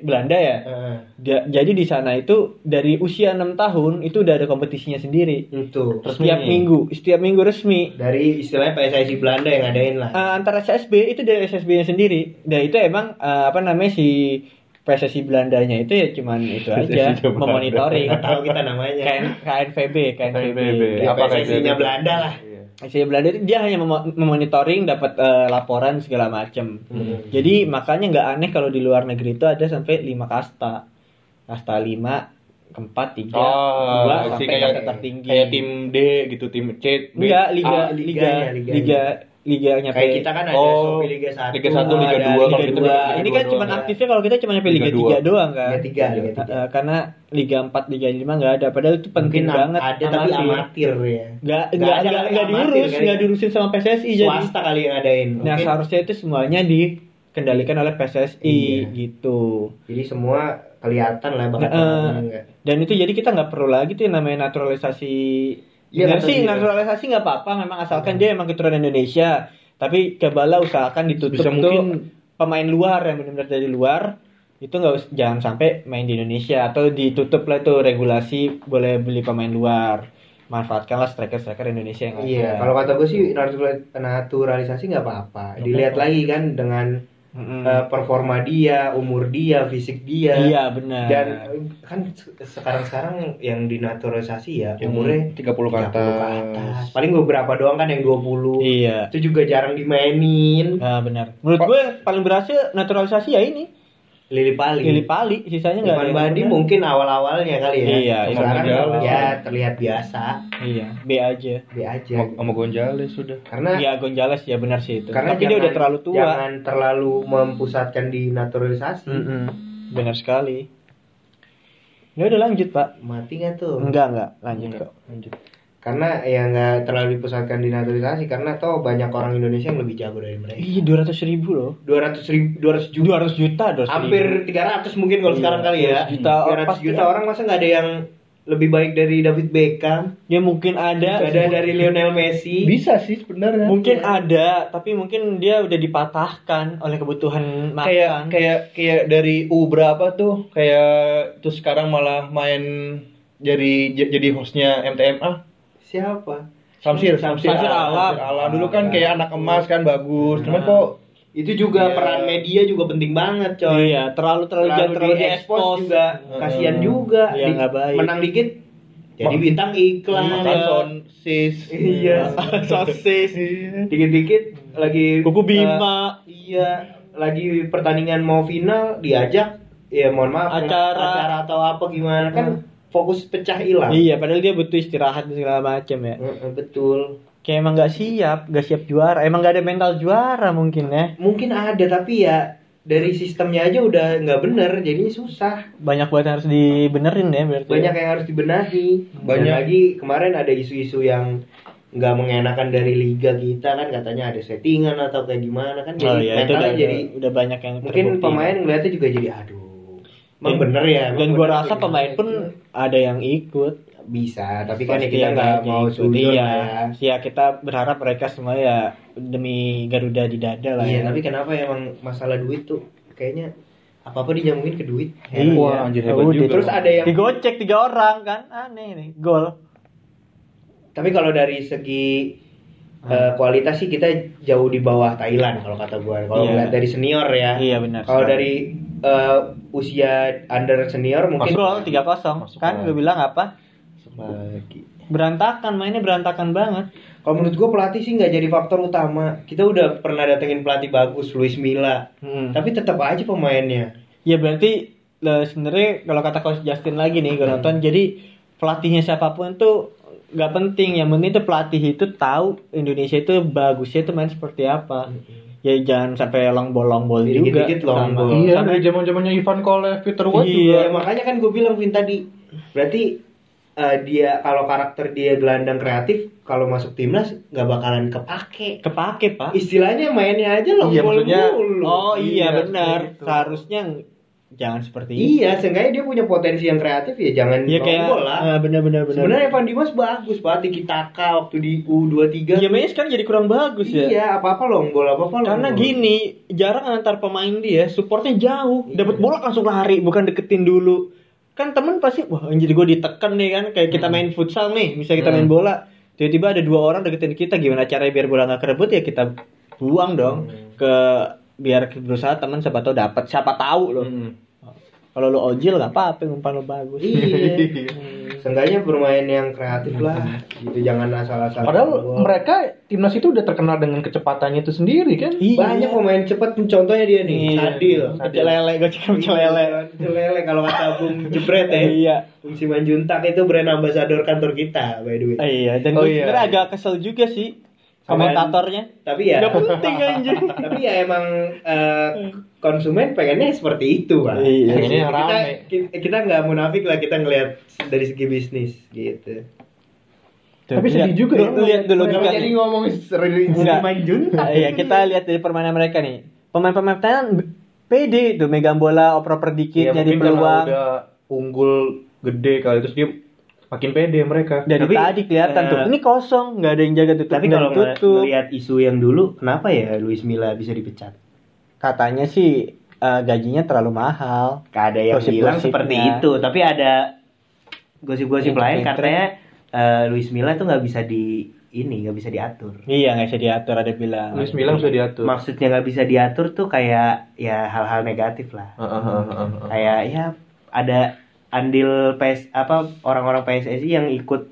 Speaker 1: Belanda ya.
Speaker 5: Eh,
Speaker 1: Dia- jadi di sana itu dari usia 6 tahun itu udah ada kompetisinya sendiri.
Speaker 4: itu
Speaker 1: Setiap minggu, setiap minggu resmi.
Speaker 4: dari istilahnya PSSI Belanda yang ngadain lah
Speaker 1: Eh, antara SSB itu dari SSB-nya sendiri. Dan itu emang eh, apa namanya si PSSI Belandanya itu ya cuman itu aja
Speaker 2: PSSI Belanda.
Speaker 1: memonitoring
Speaker 4: nggak tahu kita namanya
Speaker 1: KN, KNVB, KNVB.
Speaker 4: Ya,
Speaker 2: Apa kayak
Speaker 4: PSSI-nya
Speaker 2: gitu?
Speaker 4: Belanda lah.
Speaker 2: Iya.
Speaker 1: SSI Belanda itu dia hanya memo- memonitoring dapat eh, laporan segala macem.
Speaker 4: Hmm.
Speaker 1: Jadi makanya nggak aneh kalau di luar negeri itu ada sampai 5 kasta. Kasta 5, keempat,
Speaker 5: Nah,
Speaker 1: tiga,
Speaker 2: Oh,
Speaker 1: dua,
Speaker 2: si
Speaker 1: sampai
Speaker 2: kayak
Speaker 1: kasta tertinggi.
Speaker 2: kayak tim D gitu, tim C, B.
Speaker 1: Enggak, Oh, liga, liga,
Speaker 2: A.
Speaker 4: liganya,
Speaker 1: liga, ya.
Speaker 4: liganya.
Speaker 1: liga, liganya
Speaker 4: kayak
Speaker 1: P.
Speaker 4: kita kan ada
Speaker 2: Oh,
Speaker 4: SOP Liga 1
Speaker 2: Liga satu, Liga
Speaker 1: ada
Speaker 2: dua, kalau gitu.
Speaker 1: Liga
Speaker 2: kita
Speaker 1: dua.
Speaker 2: Liga
Speaker 1: Ini
Speaker 2: dua
Speaker 1: kan
Speaker 2: doang
Speaker 1: cuma
Speaker 2: ya.
Speaker 1: aktifnya kalau kita cuma nyampe Liga
Speaker 2: Liga dua.
Speaker 1: 3 doang kan.
Speaker 4: Liga tiga, Liga
Speaker 1: Eh,
Speaker 4: tiga.
Speaker 1: eh, karena Liga 4, Liga 5 nggak ada. Padahal itu penting
Speaker 4: mungkin
Speaker 1: banget.
Speaker 4: ada tapi amatir ya
Speaker 1: Nggak,
Speaker 4: Nggak
Speaker 1: nggak,
Speaker 4: ada
Speaker 1: nggak,
Speaker 4: kali
Speaker 1: nggak
Speaker 4: amatir,
Speaker 1: diurus,
Speaker 4: kali. ya.
Speaker 1: nggak diurusin sama PSSI jadi.
Speaker 4: kan? swasta kali yang ngadain
Speaker 1: Nah
Speaker 4: Mungkin-
Speaker 1: seharusnya itu semuanya dikendalikan oleh PSSI
Speaker 4: Iya.
Speaker 1: gitu.
Speaker 4: jadi semua kelihatan lah bakal
Speaker 1: Nah, eh,
Speaker 4: enggak
Speaker 1: Dan itu jadi kita nggak perlu lagi tuh yang namanya naturalisasi.
Speaker 4: Iya,
Speaker 1: Nggak sih
Speaker 4: betul juga. Iya.
Speaker 1: naturalisasi nggak apa-apa memang asalkan dia emang keturunan Indonesia. Tapi kebala usahakan ditutup
Speaker 5: Bisa
Speaker 1: tuh
Speaker 5: mungkin-
Speaker 1: pemain luar yang benar-benar dari luar itu nggak us- jangan sampai main di Indonesia atau ditutup lah tuh regulasi boleh beli pemain luar. Manfaatkanlah striker-striker Indonesia yang ada.
Speaker 4: Iya, kalau kata gue sih naturalisasi- naturalisasi nggak apa-apa. Dilihat lagi kan dengan
Speaker 1: Mm-mm.
Speaker 4: eh, performa dia, umur dia, fisik dia.
Speaker 1: Iya benar.
Speaker 4: Dan eh, kan se- sekarang-sekarang yang dinaturalisasi ya
Speaker 1: Hmm,
Speaker 2: Yang
Speaker 5: Hmm,
Speaker 4: umurnya
Speaker 2: 30 ke
Speaker 4: 30 ke
Speaker 2: atas.
Speaker 4: atas. Paling beberapa doang kan yang 20.
Speaker 1: iya.
Speaker 4: Itu juga jarang dimainin.
Speaker 1: Nah, benar. Menurut gue yang paling berhasil naturalisasi ya ini.
Speaker 4: Lili Pali.
Speaker 1: Lili Pali, sisanya nggak ada.
Speaker 4: Irfan
Speaker 1: yang
Speaker 4: Badi
Speaker 1: benar.
Speaker 4: mungkin awal-awalnya kali ya.
Speaker 1: Iya,
Speaker 4: sekarang
Speaker 2: Irfan Badi awal.
Speaker 4: ya terlihat biasa,
Speaker 1: Iya, B aja.
Speaker 4: dia aja. gitu.
Speaker 2: Sama- Sama Gonjales sudah.
Speaker 4: Karena
Speaker 1: Iya, Gonjales ya benar sih itu.
Speaker 4: karena
Speaker 1: Tapi dia udah terlalu tua.
Speaker 4: Jangan terlalu mempusatkan di naturalisasi.
Speaker 1: Mm-mm. Benar sekali. Ya udah lanjut, Pak.
Speaker 4: Mati nggak tuh?
Speaker 1: Enggak, enggak, lanjut
Speaker 4: Iya.
Speaker 2: Enggak,
Speaker 1: kok.
Speaker 2: lanjut.
Speaker 4: Karena ya nggak terlalu dipusatkan di naturalisasi karena toh banyak orang Indonesia yang lebih jago dari mereka.
Speaker 1: Iya, 200 ribu loh.
Speaker 4: 200 ribu, 200 juta,
Speaker 1: 200 juta, 200
Speaker 4: hampir 300 mungkin kalau
Speaker 1: Iya,
Speaker 4: sekarang kali ya.
Speaker 1: 200 juta, oh,
Speaker 4: 300
Speaker 1: pasti
Speaker 4: juta
Speaker 1: ada.
Speaker 4: orang masa nggak ada yang lebih baik dari David Beckham,
Speaker 1: Ya mungkin ada.
Speaker 4: nggak ada Iya. dari Lionel Messi.
Speaker 5: bisa sih sebenarnya
Speaker 1: Mungkin ada, tapi mungkin dia udah dipatahkan oleh kebutuhan makan.
Speaker 5: kayak kayak kayak dari U berapa tuh kayak terus sekarang malah main jadi j- jadi hostnya MTMA
Speaker 4: Siapa?
Speaker 5: ah, Samsir Samsir,
Speaker 1: Samsir Alam.
Speaker 5: Alam. dulu kan kayak anak emas kan bagus cuman kok
Speaker 4: Itu juga
Speaker 5: Iya.
Speaker 4: peran media juga penting banget, coy.
Speaker 1: Iya, terlalu terlalu jangan terlalu
Speaker 4: diekspos
Speaker 1: diekspos
Speaker 4: juga kasihan juga
Speaker 1: Iya,
Speaker 4: Di-
Speaker 1: nggak baik. Iya.
Speaker 4: menang dikit jadi bintang iklan
Speaker 5: makan sosis
Speaker 4: iya
Speaker 1: Sosis.
Speaker 5: Iya.
Speaker 4: dikit-dikit lagi
Speaker 1: Kuku
Speaker 4: eh,
Speaker 1: Bima.
Speaker 4: iya lagi pertandingan mau final diajak ya mohon maaf
Speaker 1: Iya. Acara.
Speaker 4: acara atau apa gimana kan fokus pecah hilang
Speaker 1: Iya, padahal dia butuh istirahat dan segala macam ya.
Speaker 4: Heeh, betul
Speaker 1: Kayak emang nggak siap, nggak siap juara. Emang nggak ada mental juara mungkin ya.
Speaker 4: mungkin ada tapi ya dari sistemnya aja udah nggak bener jadi susah
Speaker 1: Banyak banget yang harus dibenerin ya berarti.
Speaker 4: banyak yang harus dibenahi
Speaker 1: Iya.
Speaker 5: Banyak.
Speaker 4: Dan lagi kemarin ada isu-isu yang nggak mengenakan dari liga kita kan katanya ada settingan atau kayak gimana kan
Speaker 1: Oh
Speaker 4: jadi
Speaker 1: iya, itu
Speaker 4: mentalnya
Speaker 1: udah,
Speaker 4: jadi
Speaker 1: jadi udah banyak yang
Speaker 4: mungkin
Speaker 1: terbukti.
Speaker 4: pemain ngeliatnya juga jadi aduh emang
Speaker 1: Dan-
Speaker 4: bener ya emang
Speaker 1: dan gua
Speaker 4: bener
Speaker 1: rasa
Speaker 4: gimana
Speaker 1: pemain pun
Speaker 4: gitu.
Speaker 1: ada yang ikut.
Speaker 4: bisa tapi kan ya
Speaker 1: Pasti
Speaker 4: kita
Speaker 1: ada
Speaker 4: nggak
Speaker 1: yang
Speaker 4: mau
Speaker 1: ikut.
Speaker 4: sudut
Speaker 1: Iya.
Speaker 4: ya
Speaker 1: Ya kita berharap mereka semua ya demi Garuda di dada lah.
Speaker 4: iya
Speaker 1: ya.
Speaker 4: tapi kenapa emang masalah duit tuh kayaknya
Speaker 6: apa apa dinyambungin ke duit
Speaker 4: Iya.
Speaker 1: Iya.
Speaker 2: Wah, anjir, hebat
Speaker 1: Udah,
Speaker 2: juga.
Speaker 1: Terus
Speaker 6: terus ada yang
Speaker 1: digocek tiga orang kan. Aneh nih, gol.
Speaker 6: tapi kalau dari segi eh, kualitas sih kita jauh di bawah Thailand kalau kata gua kalau
Speaker 1: Iya.
Speaker 6: ngeliat dari senior ya
Speaker 1: Iya benar.
Speaker 6: kalau dari eh, usia under senior mungkin
Speaker 1: gol 3-0
Speaker 2: Masuk
Speaker 1: kan
Speaker 2: lagi.
Speaker 1: gue bilang apa?
Speaker 2: Lagi.
Speaker 1: Berantakan mainnya berantakan banget.
Speaker 6: kalau menurut gua pelatih sih nggak jadi faktor utama kita udah pernah datengin pelatih bagus Luis Milla
Speaker 4: Hmm.
Speaker 6: tapi tetap aja pemainnya
Speaker 1: Ya berarti eh, sebenarnya kalau kata coach Justin lagi nih gue nonton jadi pelatihnya siapapun tuh nggak penting yang penting itu pelatih itu tahu Indonesia itu bagusnya itu main seperti apa ya jangan sampai long bolong bol juga
Speaker 6: Dikit-dikit long
Speaker 1: Sama.
Speaker 6: ball.
Speaker 2: Iya,
Speaker 1: Sama-
Speaker 2: dari zaman zamannya Ivan Kolev, Peter Watt
Speaker 1: Iya.
Speaker 6: Ya, makanya kan gue bilang Vin tadi berarti eh, dia kalau karakter dia gelandang kreatif kalau masuk timnas nggak bakalan kepake
Speaker 1: kepake pak
Speaker 6: istilahnya mainnya aja long
Speaker 2: Iya,
Speaker 6: ball
Speaker 2: maksudnya,
Speaker 6: mulu.
Speaker 1: oh iya,
Speaker 2: Iya,
Speaker 1: benar
Speaker 2: seperti itu.
Speaker 1: seharusnya ng- jangan seperti itu
Speaker 6: gitu. iya seenggaknya dia punya potensi yang kreatif ya jangan
Speaker 1: ya
Speaker 6: long
Speaker 1: kayak
Speaker 6: ball lah
Speaker 1: eh, benar-benar benar
Speaker 6: sebenarnya Evan Dimas bagus pak Tiki Taka waktu di U23
Speaker 1: ya mainnya sekarang jadi kurang bagus ya
Speaker 6: iya apa apa long ball apa apa long
Speaker 1: Karena
Speaker 6: ball.
Speaker 1: gini, jarak antar pemain dia, supportnya jauh.
Speaker 6: Iya.
Speaker 1: Dapat bola langsung lari, bukan deketin dulu. Kan temen pasti, wah jadi gue ditekan nih kan. Kayak
Speaker 6: Hmm.
Speaker 1: kita main futsal nih, misalnya kita main bola. Tiba-tiba ada dua orang deketin kita, gimana caranya biar bola nggak kerebut ya kita buang dong.
Speaker 6: Hmm.
Speaker 1: Ke biar berusaha teman siapa tahu dapat siapa tahu loh kalau lo ojil nggak apa-apa umpan lo bagus
Speaker 6: iya seenggaknya bermain yang kreatif
Speaker 1: Iya.
Speaker 6: lah gitu jangan asal-asal
Speaker 2: Padahal
Speaker 4: Iya.
Speaker 6: long ball.
Speaker 2: mereka timnas itu udah terkenal dengan kecepatannya itu sendiri kan.
Speaker 6: banyak pemain cepat contohnya dia nih
Speaker 1: Iya.
Speaker 6: Sadil
Speaker 1: Pecel lele gue cek
Speaker 4: Iya.
Speaker 1: pecel lele
Speaker 6: Celele kalau kata Bung Jebret
Speaker 4: Eh,
Speaker 6: ya
Speaker 1: iya
Speaker 6: Bung Simanjuntak itu brand ambassador kantor kita by the way
Speaker 1: Eh, iya dan
Speaker 2: Oh,
Speaker 1: gue
Speaker 2: iya.
Speaker 1: sebenarnya agak kesel juga sih
Speaker 6: Sama-
Speaker 1: komentatornya
Speaker 6: tapi
Speaker 4: Iya.
Speaker 6: ya
Speaker 1: nggak penting anjing
Speaker 6: tapi ya emang eh, konsumen pengennya seperti itu Pak.
Speaker 1: Iya.
Speaker 2: Pengennya yang
Speaker 6: kita
Speaker 2: rame.
Speaker 6: ki- kita nggak munafik lah kita ngelihat dari segi bisnis gitu
Speaker 2: Tapi sedih juga ya.
Speaker 1: Lu lihat dulu
Speaker 2: Kenapa
Speaker 1: juga
Speaker 2: jadi
Speaker 1: nih.
Speaker 2: ngomong
Speaker 1: Enggak.
Speaker 2: Junta.
Speaker 1: Iya, kita lihat dari permainan mereka nih. Pemain-pemain Thailand b- pede tuh megang bola oper-oper dikit
Speaker 2: Iya,
Speaker 1: nyari
Speaker 2: mungkin karena
Speaker 1: peluang.
Speaker 2: udah unggul gede kali terus dia makin pede mereka.
Speaker 1: Dari
Speaker 4: Tapi,
Speaker 1: tadi kelihatan
Speaker 4: eh,
Speaker 1: tuh. Ini kosong, nggak ada yang jaga tutup.
Speaker 4: Tapi
Speaker 1: nggak
Speaker 4: kalau ngel-
Speaker 1: ditutup.
Speaker 4: ngelihat isu yang dulu, kenapa ya Luis Milla bisa dipecat?
Speaker 1: katanya sih eh, gajinya terlalu mahal.
Speaker 4: Gak ada yang
Speaker 1: Gosip-gosipnya.
Speaker 4: bilang seperti
Speaker 1: iya.
Speaker 4: itu, tapi ada gosip-gosip
Speaker 1: Yang
Speaker 4: lain
Speaker 1: pinter.
Speaker 4: katanya eh, Luis Milla tuh nggak bisa di ini, nggak bisa diatur.
Speaker 1: Iya, nggak bisa diatur ada bilang.
Speaker 2: Luis Milang sudah diatur.
Speaker 4: Maksudnya nggak bisa diatur tuh kayak ya hal-hal negatif lah.
Speaker 2: Heeh, heeh, heeh, heeh.
Speaker 4: Kayak ya ada andil PS apa orang-orang PSSI yang ikut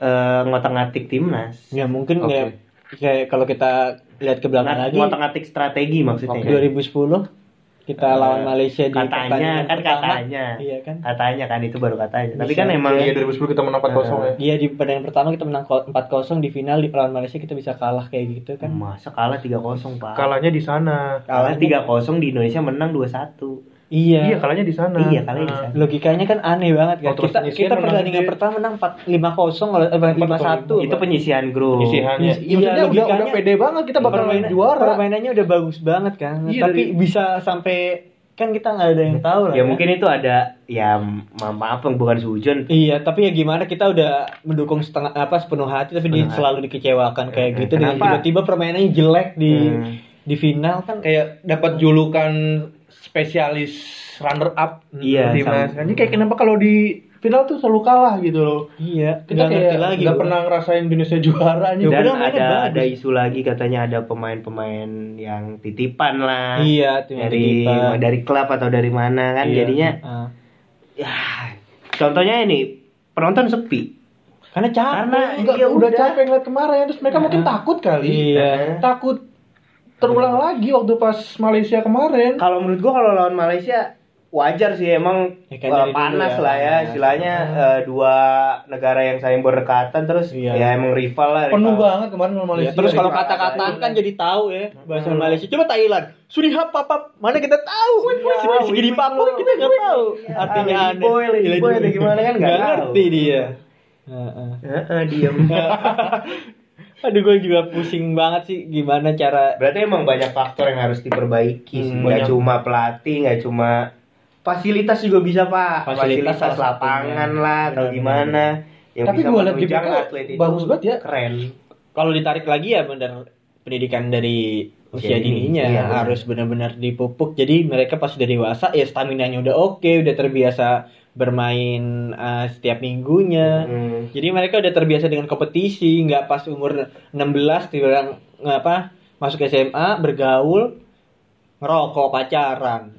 Speaker 4: eh, ngotak-ngatik timnas.
Speaker 1: Ya mungkin
Speaker 2: Oke.
Speaker 1: kayak kayak kalau kita lihat ke belakang
Speaker 4: Ngat-
Speaker 1: lagi
Speaker 4: Ngotak-ngatik strategi maksudnya.
Speaker 1: 2010 kita
Speaker 2: Eh,
Speaker 1: lawan Malaysia di pertandingan
Speaker 4: Katanya kan
Speaker 1: pertama.
Speaker 4: katanya.
Speaker 1: Iya kan?
Speaker 4: Katanya kan itu baru katanya. Tapi
Speaker 1: Bisa.
Speaker 4: kan emang
Speaker 2: Iya 2010 kita menang 4-0 ya.
Speaker 1: Iya di pertandingan pertama kita menang ko- 4-0 di final di lawan Malaysia kita bisa kalah kayak gitu kan.
Speaker 4: masa kalah 3-0, Pak.
Speaker 2: Kalahnya di sana.
Speaker 4: Hmm. Kalah
Speaker 1: Kalahnya-
Speaker 4: 3-0 di Indonesia menang 2-1.
Speaker 2: Iya,
Speaker 1: Iya.
Speaker 2: kalahnya di sana.
Speaker 4: Iya, kalahnya di
Speaker 2: Heeh.
Speaker 4: sana.
Speaker 1: Logikanya kan aneh banget kan.
Speaker 2: Oh, terus
Speaker 1: kita
Speaker 2: penyisian
Speaker 1: kita
Speaker 2: menang
Speaker 1: pertandingan
Speaker 2: dia.
Speaker 1: pertama menang 4 5-0 kalau eh, 5-1.
Speaker 4: Itu penyisihan grup.
Speaker 2: Isihannya.
Speaker 1: Iya,
Speaker 2: Maksudnya udah,
Speaker 1: logikanya- Iya,
Speaker 2: udah pede banget kita bakal
Speaker 1: Permainan-
Speaker 2: juara.
Speaker 1: Permainannya udah bagus banget kan.
Speaker 2: Iya,
Speaker 1: Tapi
Speaker 2: dari-
Speaker 1: bisa sampai kan kita nggak ada yang tahu lah.
Speaker 4: Ya
Speaker 1: kan.
Speaker 4: mungkin itu ada ya ma- maaf bukan sujon.
Speaker 1: Iya, tapi ya gimana kita udah mendukung setengah apa sepenuh hati tapi dia
Speaker 4: Sepenuh hati.
Speaker 1: selalu dikecewakan kayak
Speaker 4: Eh,
Speaker 1: gitu dengan
Speaker 4: kenapa?
Speaker 1: tiba-tiba permainannya jelek di
Speaker 4: Hmm.
Speaker 1: di final kan
Speaker 5: kayak dapat julukan spesialis runner up
Speaker 4: Iya,
Speaker 5: timnas.
Speaker 4: sama.
Speaker 5: Ini kayak kenapa kalau di final tuh selalu kalah gitu loh.
Speaker 1: iya,
Speaker 5: Kita
Speaker 1: nggak ngerti
Speaker 5: kayak
Speaker 1: lagi.
Speaker 5: nggak
Speaker 1: gua.
Speaker 5: pernah ngerasain Indonesia juara aja.
Speaker 1: Ya,
Speaker 4: Dan
Speaker 1: padahal mainnya
Speaker 4: ada
Speaker 1: bagus.
Speaker 4: ada isu lagi katanya ada pemain-pemain yang titipan lah.
Speaker 1: Iya, tim yang
Speaker 4: Dari
Speaker 1: titipan.
Speaker 4: dari klub atau dari mana kan
Speaker 1: Iya.
Speaker 4: jadinya
Speaker 1: Ah.
Speaker 4: ya contohnya ini penonton sepi.
Speaker 1: karena capek.
Speaker 4: Karena
Speaker 5: Enggak,
Speaker 4: ya
Speaker 5: udah capek ngeliat kemarin terus mereka mungkin takut kali.
Speaker 1: Iya.
Speaker 5: Takut terulang lagi waktu pas Malaysia kemarin.
Speaker 4: kalau menurut gua kalau lawan Malaysia wajar sih emang
Speaker 1: Ya, kan dari
Speaker 4: eh, panas
Speaker 1: dulu ya,
Speaker 4: lah ya
Speaker 1: panas.
Speaker 4: istilahnya eh, dua negara yang saling berdekatan terus
Speaker 1: Iya.
Speaker 4: ya emang rival lah rival.
Speaker 5: Penuh banget kemarin sama
Speaker 1: Ya,
Speaker 5: Malaysia. Iya.
Speaker 1: terus kalau
Speaker 5: Jadi,
Speaker 1: kata-kataan kan jadi tahu ya bahasa
Speaker 4: Hmm.
Speaker 1: Malaysia. Coba Thailand, Surihap papap, mana kita tahu? Segini segini papap kita nggak tahu. Artinya
Speaker 4: Ah, lady
Speaker 1: aneh.
Speaker 4: boy, lady
Speaker 1: Lady
Speaker 4: boy,
Speaker 1: boy.
Speaker 4: atau gimana kan nggak
Speaker 1: Nggak
Speaker 4: tahu.
Speaker 1: ngerti dia. Heeh.
Speaker 4: Heeh, diem.
Speaker 1: Aduh gue juga pusing banget sih gimana cara
Speaker 4: berarti emang banyak faktor yang harus diperbaiki sih.
Speaker 1: Hmm, banyak.
Speaker 4: nggak cuma pelatih nggak cuma fasilitas juga bisa pak
Speaker 1: Fasilitas iya.
Speaker 4: fasilitas,
Speaker 1: salah satunya.
Speaker 4: lapangan lah atau
Speaker 1: Benar-benar.
Speaker 4: gimana
Speaker 1: iya.
Speaker 4: yang
Speaker 5: Tapi
Speaker 4: bisa
Speaker 5: gua liat di
Speaker 4: menunjang
Speaker 5: BK
Speaker 4: atlet itu
Speaker 5: bagus banget ya.
Speaker 4: keren
Speaker 1: kalau ditarik lagi ya bener pendidikan dari usia
Speaker 4: Jadi,
Speaker 1: dininya
Speaker 4: iya, benar.
Speaker 1: harus benar-benar dipupuk. Jadi mereka pas udah dewasa ya stamina-nya udah oke, udah terbiasa bermain eh, setiap minggunya.
Speaker 4: Hmm. Mm-hmm.
Speaker 1: Jadi mereka udah terbiasa dengan kompetisi, nggak pas umur 16 dibilang apa masuk SMA bergaul ngerokok pacaran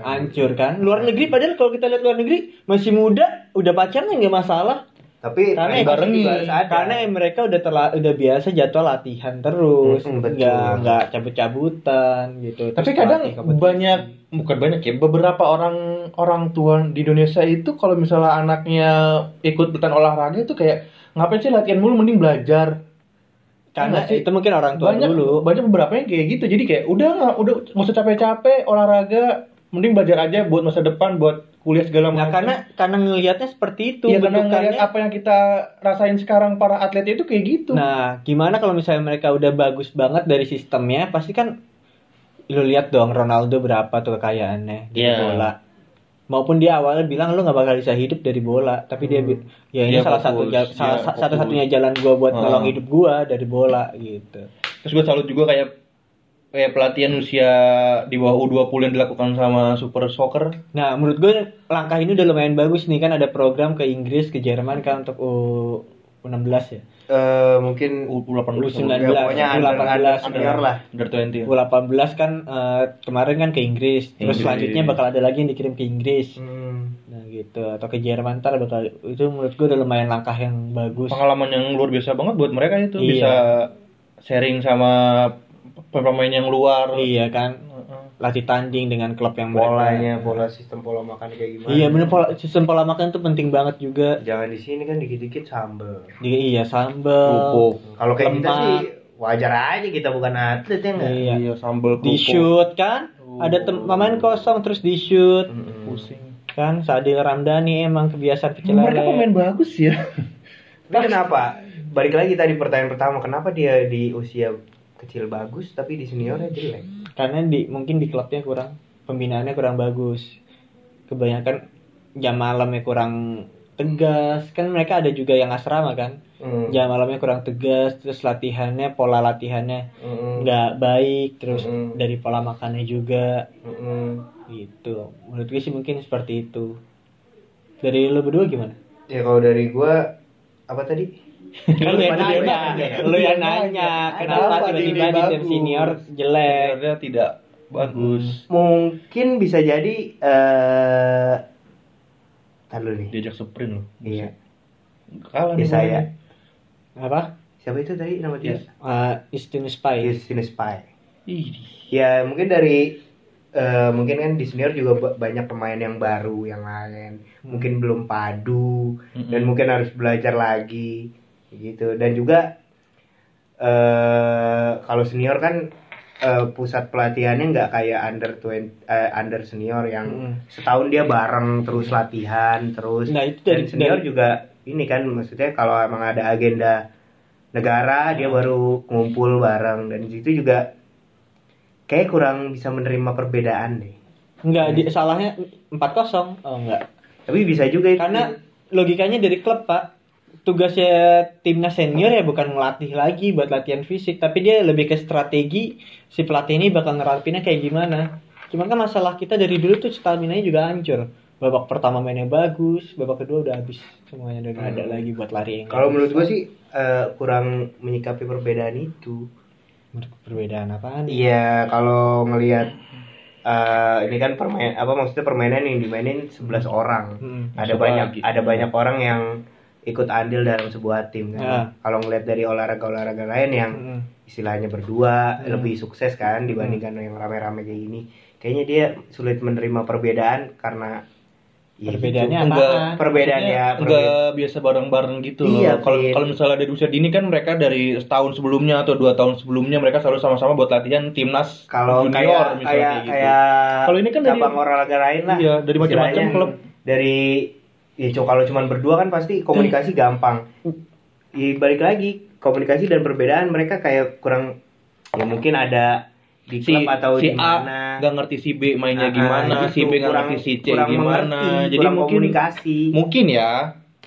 Speaker 1: hancur kan luar negeri padahal kalau kita lihat luar negeri masih muda udah pacaran nggak masalah
Speaker 4: Tapi
Speaker 1: Karena
Speaker 4: yang
Speaker 1: bareng
Speaker 4: juga
Speaker 1: nih.
Speaker 4: harus ada.
Speaker 1: karena mereka udah terla- udah biasa jadwal latihan terus
Speaker 4: Mm-mm, betul.
Speaker 1: nggak nggak cabut-cabutan gitu
Speaker 2: Tapi
Speaker 1: Terus
Speaker 2: kadang
Speaker 1: pelatih kompetisi.
Speaker 2: banyak bukan banyak ya beberapa orang orang tua di Indonesia itu kalau misalnya anaknya ikut ikutan olahraga itu kayak ngapain sih latihan mulu mending belajar
Speaker 1: karena
Speaker 2: Nggak sih?
Speaker 1: itu mungkin orang tua
Speaker 2: banyak
Speaker 1: dulu
Speaker 2: banyak beberapa yang kayak gitu jadi kayak udah nggak udah nggak usah capek-capek olahraga mending belajar aja buat masa depan buat kuliah segala
Speaker 1: nah
Speaker 2: macam
Speaker 1: karena karena ngelihatnya seperti itu
Speaker 2: ya karena ngeliat
Speaker 1: bentukannya.
Speaker 2: apa yang kita rasain sekarang para atletnya itu kayak gitu
Speaker 1: Nah, gimana kalau misalnya mereka udah bagus banget dari sistemnya, pasti kan lu lihat dong Ronaldo berapa tuh kekayaannya di
Speaker 2: Iya.
Speaker 1: bola. Maupun dia awalnya bilang lu nggak bakal bisa hidup dari bola, tapi dia
Speaker 4: Hmm.
Speaker 1: bi- ya ini
Speaker 2: Dia
Speaker 1: salah
Speaker 2: Iya, fokus,
Speaker 1: satu jal-
Speaker 2: dia
Speaker 1: salah
Speaker 2: fokus.
Speaker 1: satu satunya jalan gua buat
Speaker 2: Hmm.
Speaker 1: nolong hidup gua dari bola gitu.
Speaker 2: terus gue salut juga kayak kayak pelatihan usia di bawah U20 yang dilakukan sama Super Soccer
Speaker 1: Nah, menurut gua langkah ini udah lumayan bagus nih kan ada program ke Inggris, ke Jerman kan untuk U 16 ya.
Speaker 4: Eh, mungkin
Speaker 1: U19,
Speaker 2: U18
Speaker 4: Ya, pokoknya under, under,
Speaker 1: U18,
Speaker 4: under lah.
Speaker 2: Under 20
Speaker 1: U18 kan eh, kemarin kan ke Inggris, terus
Speaker 2: Inggris.
Speaker 1: selanjutnya bakal ada lagi yang dikirim ke Inggris.
Speaker 4: hmm,
Speaker 1: Nah gitu atau ke Jerman ntar bakal itu menurut gue udah lumayan langkah yang bagus.
Speaker 2: pengalaman yang luar biasa banget buat mereka itu
Speaker 1: Iya.
Speaker 2: bisa sharing sama pemain yang luar
Speaker 1: Iya kan latih tanding dengan klub yang mereka-
Speaker 4: polanya, pola sistem pola makan kayak gimana.
Speaker 1: Iya bener pola sistem pola makan tuh penting banget juga.
Speaker 4: Jangan di sini kan dikit-dikit sambel.
Speaker 1: Di- iya sambel,
Speaker 4: Kalau kayak kita
Speaker 1: Lemak.
Speaker 4: sih wajar aja kita bukan atlet ya enggak?
Speaker 1: iya.
Speaker 2: sambal
Speaker 1: di shoot kan. Ada tem- pemain kosong terus di shoot
Speaker 2: pusing
Speaker 1: kan. Sadil Ramdhani emang kebiasaan kecil.
Speaker 2: mereka pemain bagus ya
Speaker 4: Tapi kenapa? Balik lagi tadi pertanyaan pertama, kenapa dia di usia kecil bagus tapi di seniornya jelek?
Speaker 1: karena di mungkin di klubnya kurang pembinaannya kurang bagus kebanyakan jam malamnya kurang tegas kan mereka ada juga yang asrama kan
Speaker 4: Hmm.
Speaker 1: jam malamnya kurang tegas terus latihannya pola latihannya
Speaker 4: Mm-mm.
Speaker 1: nggak baik terus
Speaker 4: Mm-mm.
Speaker 1: dari pola makannya juga
Speaker 4: Mm-mm.
Speaker 1: gitu menurut gue sih mungkin seperti itu dari lo berdua gimana
Speaker 4: Ya kalau dari gua apa tadi?
Speaker 1: Kan lu yang
Speaker 4: pada
Speaker 1: nanya,
Speaker 4: nanya.
Speaker 1: lu yang nanya kenapa tiba-tiba di tim senior jelek
Speaker 2: sebenarnya tidak bagus
Speaker 4: Hmm. Mungkin bisa jadi eh Ntar dulu nih.
Speaker 2: diajak sprint loh
Speaker 4: Iya.
Speaker 2: kalah
Speaker 4: Ya
Speaker 2: nih Iya.
Speaker 4: saya.
Speaker 1: apa
Speaker 4: Siapa itu tadi nama
Speaker 2: Ya,
Speaker 4: dia?
Speaker 1: uh, Istin Spy
Speaker 4: Justin Spy.
Speaker 2: Ih,
Speaker 4: Ya mungkin dari eh, mungkin kan di senior juga ba- banyak pemain yang baru yang lain,
Speaker 1: Hmm.
Speaker 4: mungkin belum padu
Speaker 2: Mm-mm.
Speaker 4: dan mungkin harus belajar lagi gitu. Dan juga eh kalau senior kan eh, pusat pelatihannya nggak kayak under 20 eh, under senior yang
Speaker 1: Mm.
Speaker 4: setahun dia bareng terus latihan terus.
Speaker 1: Nah, itu
Speaker 4: dan
Speaker 1: dari-
Speaker 4: senior
Speaker 1: dari-
Speaker 4: juga ini kan maksudnya kalau emang ada agenda negara dia baru ngumpul bareng dan di situ juga kayak kurang bisa menerima perbedaan deh
Speaker 1: Enggak,
Speaker 4: Iya.
Speaker 1: di, salahnya 4-0. Oh, enggak.
Speaker 4: tapi bisa juga itu.
Speaker 1: Karena logikanya dari klub, Pak. Tugasnya timnas senior ya bukan melatih lagi buat latihan fisik, tapi dia lebih ke strategi si pelatih ini bakal nerapinnya kayak gimana. Cuman kan masalah kita dari dulu tuh stamina-nya juga hancur. Babak pertama mainnya bagus, babak kedua udah habis semuanya udah nggak ada lagi buat lari. yang
Speaker 4: Hmm. kalau
Speaker 1: bagus.
Speaker 4: menurut gue sih eh, kurang menyikapi perbedaan itu
Speaker 1: Menurut perbedaan apaan?
Speaker 4: iya kalau ngelihat eh, ini kan permain apa maksudnya permainan yang dimainin 11 orang
Speaker 1: Hmm.
Speaker 4: ada
Speaker 2: Coba
Speaker 4: banyak
Speaker 2: gitu.
Speaker 4: ada banyak orang yang ikut andil dalam sebuah tim kan
Speaker 1: Ya.
Speaker 4: kalau ngelihat dari olahraga-olahraga lain yang
Speaker 1: Mm-mm.
Speaker 4: istilahnya berdua
Speaker 2: Hmm.
Speaker 4: lebih sukses kan dibandingkan yang rame-rame kayak gini kayaknya dia sulit menerima perbedaan karena ya
Speaker 1: Perbedaannya
Speaker 4: gitu.
Speaker 1: apaan?
Speaker 2: enggak
Speaker 4: perbedaannya
Speaker 2: Iya, maksudnya
Speaker 4: perbeda-
Speaker 2: enggak biasa bareng-bareng gitu
Speaker 4: Iya,
Speaker 2: loh. kalau
Speaker 4: Fit.
Speaker 2: kalau misalnya dari usia dini kan mereka dari setahun sebelumnya atau dua tahun sebelumnya mereka selalu sama-sama buat latihan timnas
Speaker 4: kalau kayak
Speaker 2: junior misalnya
Speaker 4: kayak
Speaker 2: gitu.
Speaker 4: kayak
Speaker 2: Kalau ini kan dari-
Speaker 4: cabang olahraga lain lah
Speaker 2: Iya, dari macam-macam
Speaker 4: Istilahnya
Speaker 2: klub.
Speaker 4: dari ya cu- kalau cuman berdua kan pasti komunikasi
Speaker 2: Hmm.
Speaker 4: gampang ya, balik lagi komunikasi dan perbedaan mereka kayak kurang ya mungkin ada di
Speaker 2: si,
Speaker 4: klub atau
Speaker 2: si
Speaker 4: di
Speaker 2: A
Speaker 4: mana
Speaker 2: nggak ngerti si B mainnya
Speaker 4: Ah,
Speaker 2: gimana
Speaker 4: gitu.
Speaker 2: si B nggak
Speaker 4: Kurang-
Speaker 2: ngerti si C
Speaker 4: kurang
Speaker 2: gimana
Speaker 4: mengerti,
Speaker 2: jadi
Speaker 4: kurang
Speaker 2: mungkin
Speaker 4: komunikasi
Speaker 2: mungkin ya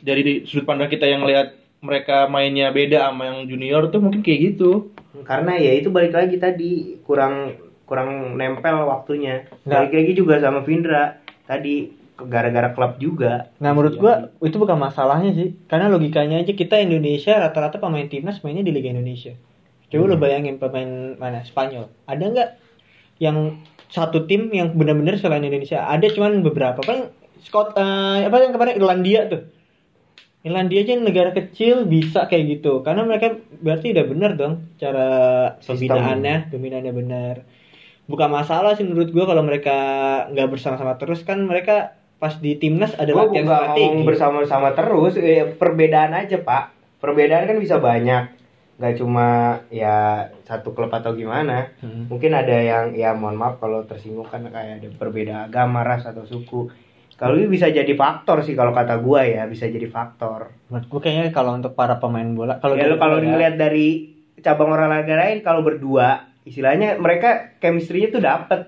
Speaker 2: dari di- sudut pandang kita yang lihat mereka mainnya beda sama yang junior tuh mungkin kayak gitu
Speaker 4: Karena ya itu balik lagi tadi kurang kurang nempel waktunya.
Speaker 1: Nah.
Speaker 4: Balik lagi juga sama Vindra tadi gara-gara klub juga.
Speaker 1: Nah menurut gua itu bukan masalahnya sih, karena logikanya aja kita Indonesia rata-rata pemain timnas mainnya di Liga Indonesia. Coba lo bayangin pemain mana Spanyol, ada nggak yang satu tim yang benar-benar selain Indonesia? Ada cuman beberapa paling Scott eh, apa yang kemarin Irlandia tuh. Irlandia aja negara kecil bisa kayak gitu, karena mereka berarti udah benar dong cara pembinaannya, pembinaannya benar. Bukan masalah sih menurut gua kalau mereka nggak bersama-sama terus kan mereka pas di timnas ada
Speaker 4: Gua
Speaker 1: latihan
Speaker 4: nggak ngomong
Speaker 1: strategi.
Speaker 4: bersama-sama terus, eh, perbedaan aja pak. Perbedaan kan bisa banyak. Gak cuma ya satu klub atau gimana.
Speaker 1: Hmm.
Speaker 4: Mungkin ada yang ya mohon maaf kalau tersinggung kan kayak ada perbedaan agama, ras atau suku. Kalau ini bisa jadi faktor sih kalau kata gua ya bisa jadi faktor.
Speaker 1: Menurut gue kayaknya kalau untuk para pemain bola kalau dari
Speaker 4: ya lo kalau
Speaker 1: bola-
Speaker 4: dilihat dari cabang olahraga lain kalau berdua istilahnya mereka chemistry-nya tuh dapet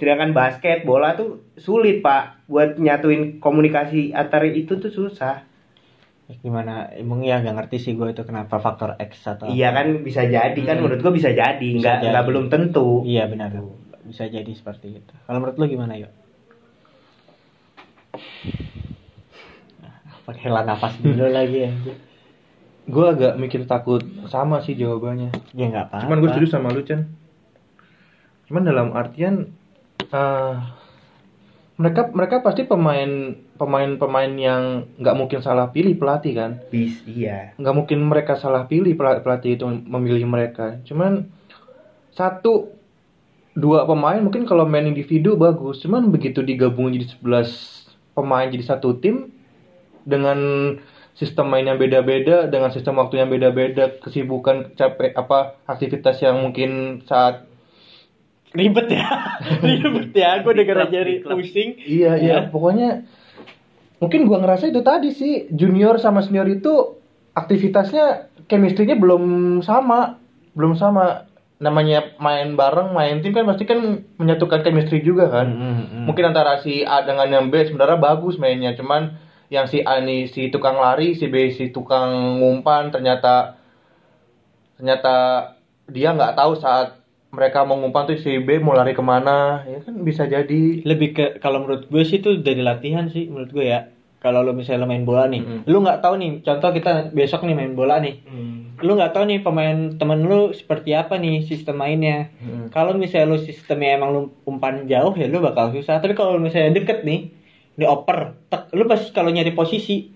Speaker 4: sedangkan basket bola tuh sulit pak buat nyatuin komunikasi antara itu tuh susah
Speaker 1: gimana emang ya gak ngerti sih gue itu kenapa faktor X atau
Speaker 4: iya kan bisa jadi
Speaker 1: Ah. Hmm.
Speaker 4: kan menurut gua bisa jadi
Speaker 1: Bisa
Speaker 4: nggak
Speaker 1: jadi.
Speaker 4: nggak belum tentu
Speaker 1: iya benar bisa jadi seperti itu kalau menurut lo gimana yuk Nah, pakai hela nafas dulu lagi ya
Speaker 2: Gue agak mikir takut sama sih jawabannya.
Speaker 1: ya nggak apa
Speaker 2: Cuman gue setuju sama lu, Chan. Cuman dalam artian eh, mereka mereka pasti pemain pemain pemain yang nggak mungkin salah pilih pelatih kan.
Speaker 4: bis iya
Speaker 2: Nggak mungkin mereka salah pilih pela- pelatih itu memilih mereka. Cuman satu dua pemain mungkin kalau main individu bagus. Cuman begitu digabung jadi 11 pemain jadi satu tim dengan sistem main yang beda-beda dengan sistem waktu yang beda-beda kesibukan capek apa aktivitas yang mungkin saat
Speaker 1: ribet ya ribet ya gue udah gara jadi pusing Iya.
Speaker 2: Iya iya pokoknya mungkin gua ngerasa itu tadi sih junior sama senior itu aktivitasnya chemistry-nya belum sama belum sama namanya main bareng main tim kan pasti kan menyatukan chemistry juga kan
Speaker 1: Hmm,
Speaker 2: mungkin antara si A dengan yang B sebenarnya bagus mainnya cuman yang si A ini si tukang lari si B si tukang ngumpan ternyata ternyata dia nggak tahu saat mereka mau ngumpan tuh si B mau lari kemana ya kan bisa jadi
Speaker 1: lebih ke kalau menurut gue sih itu dari latihan sih menurut gue ya kalau lo misalnya main bola nih
Speaker 2: Mm-mm.
Speaker 1: lu nggak tahu nih contoh kita besok nih main bola nih lu nggak tahu nih pemain temen lu seperti apa nih sistem mainnya
Speaker 2: Mm.
Speaker 1: kalau misalnya lu sistemnya emang lu umpan jauh ya lu bakal susah tapi kalau misalnya deket nih dioper tek, lu pasti kalau nyari posisi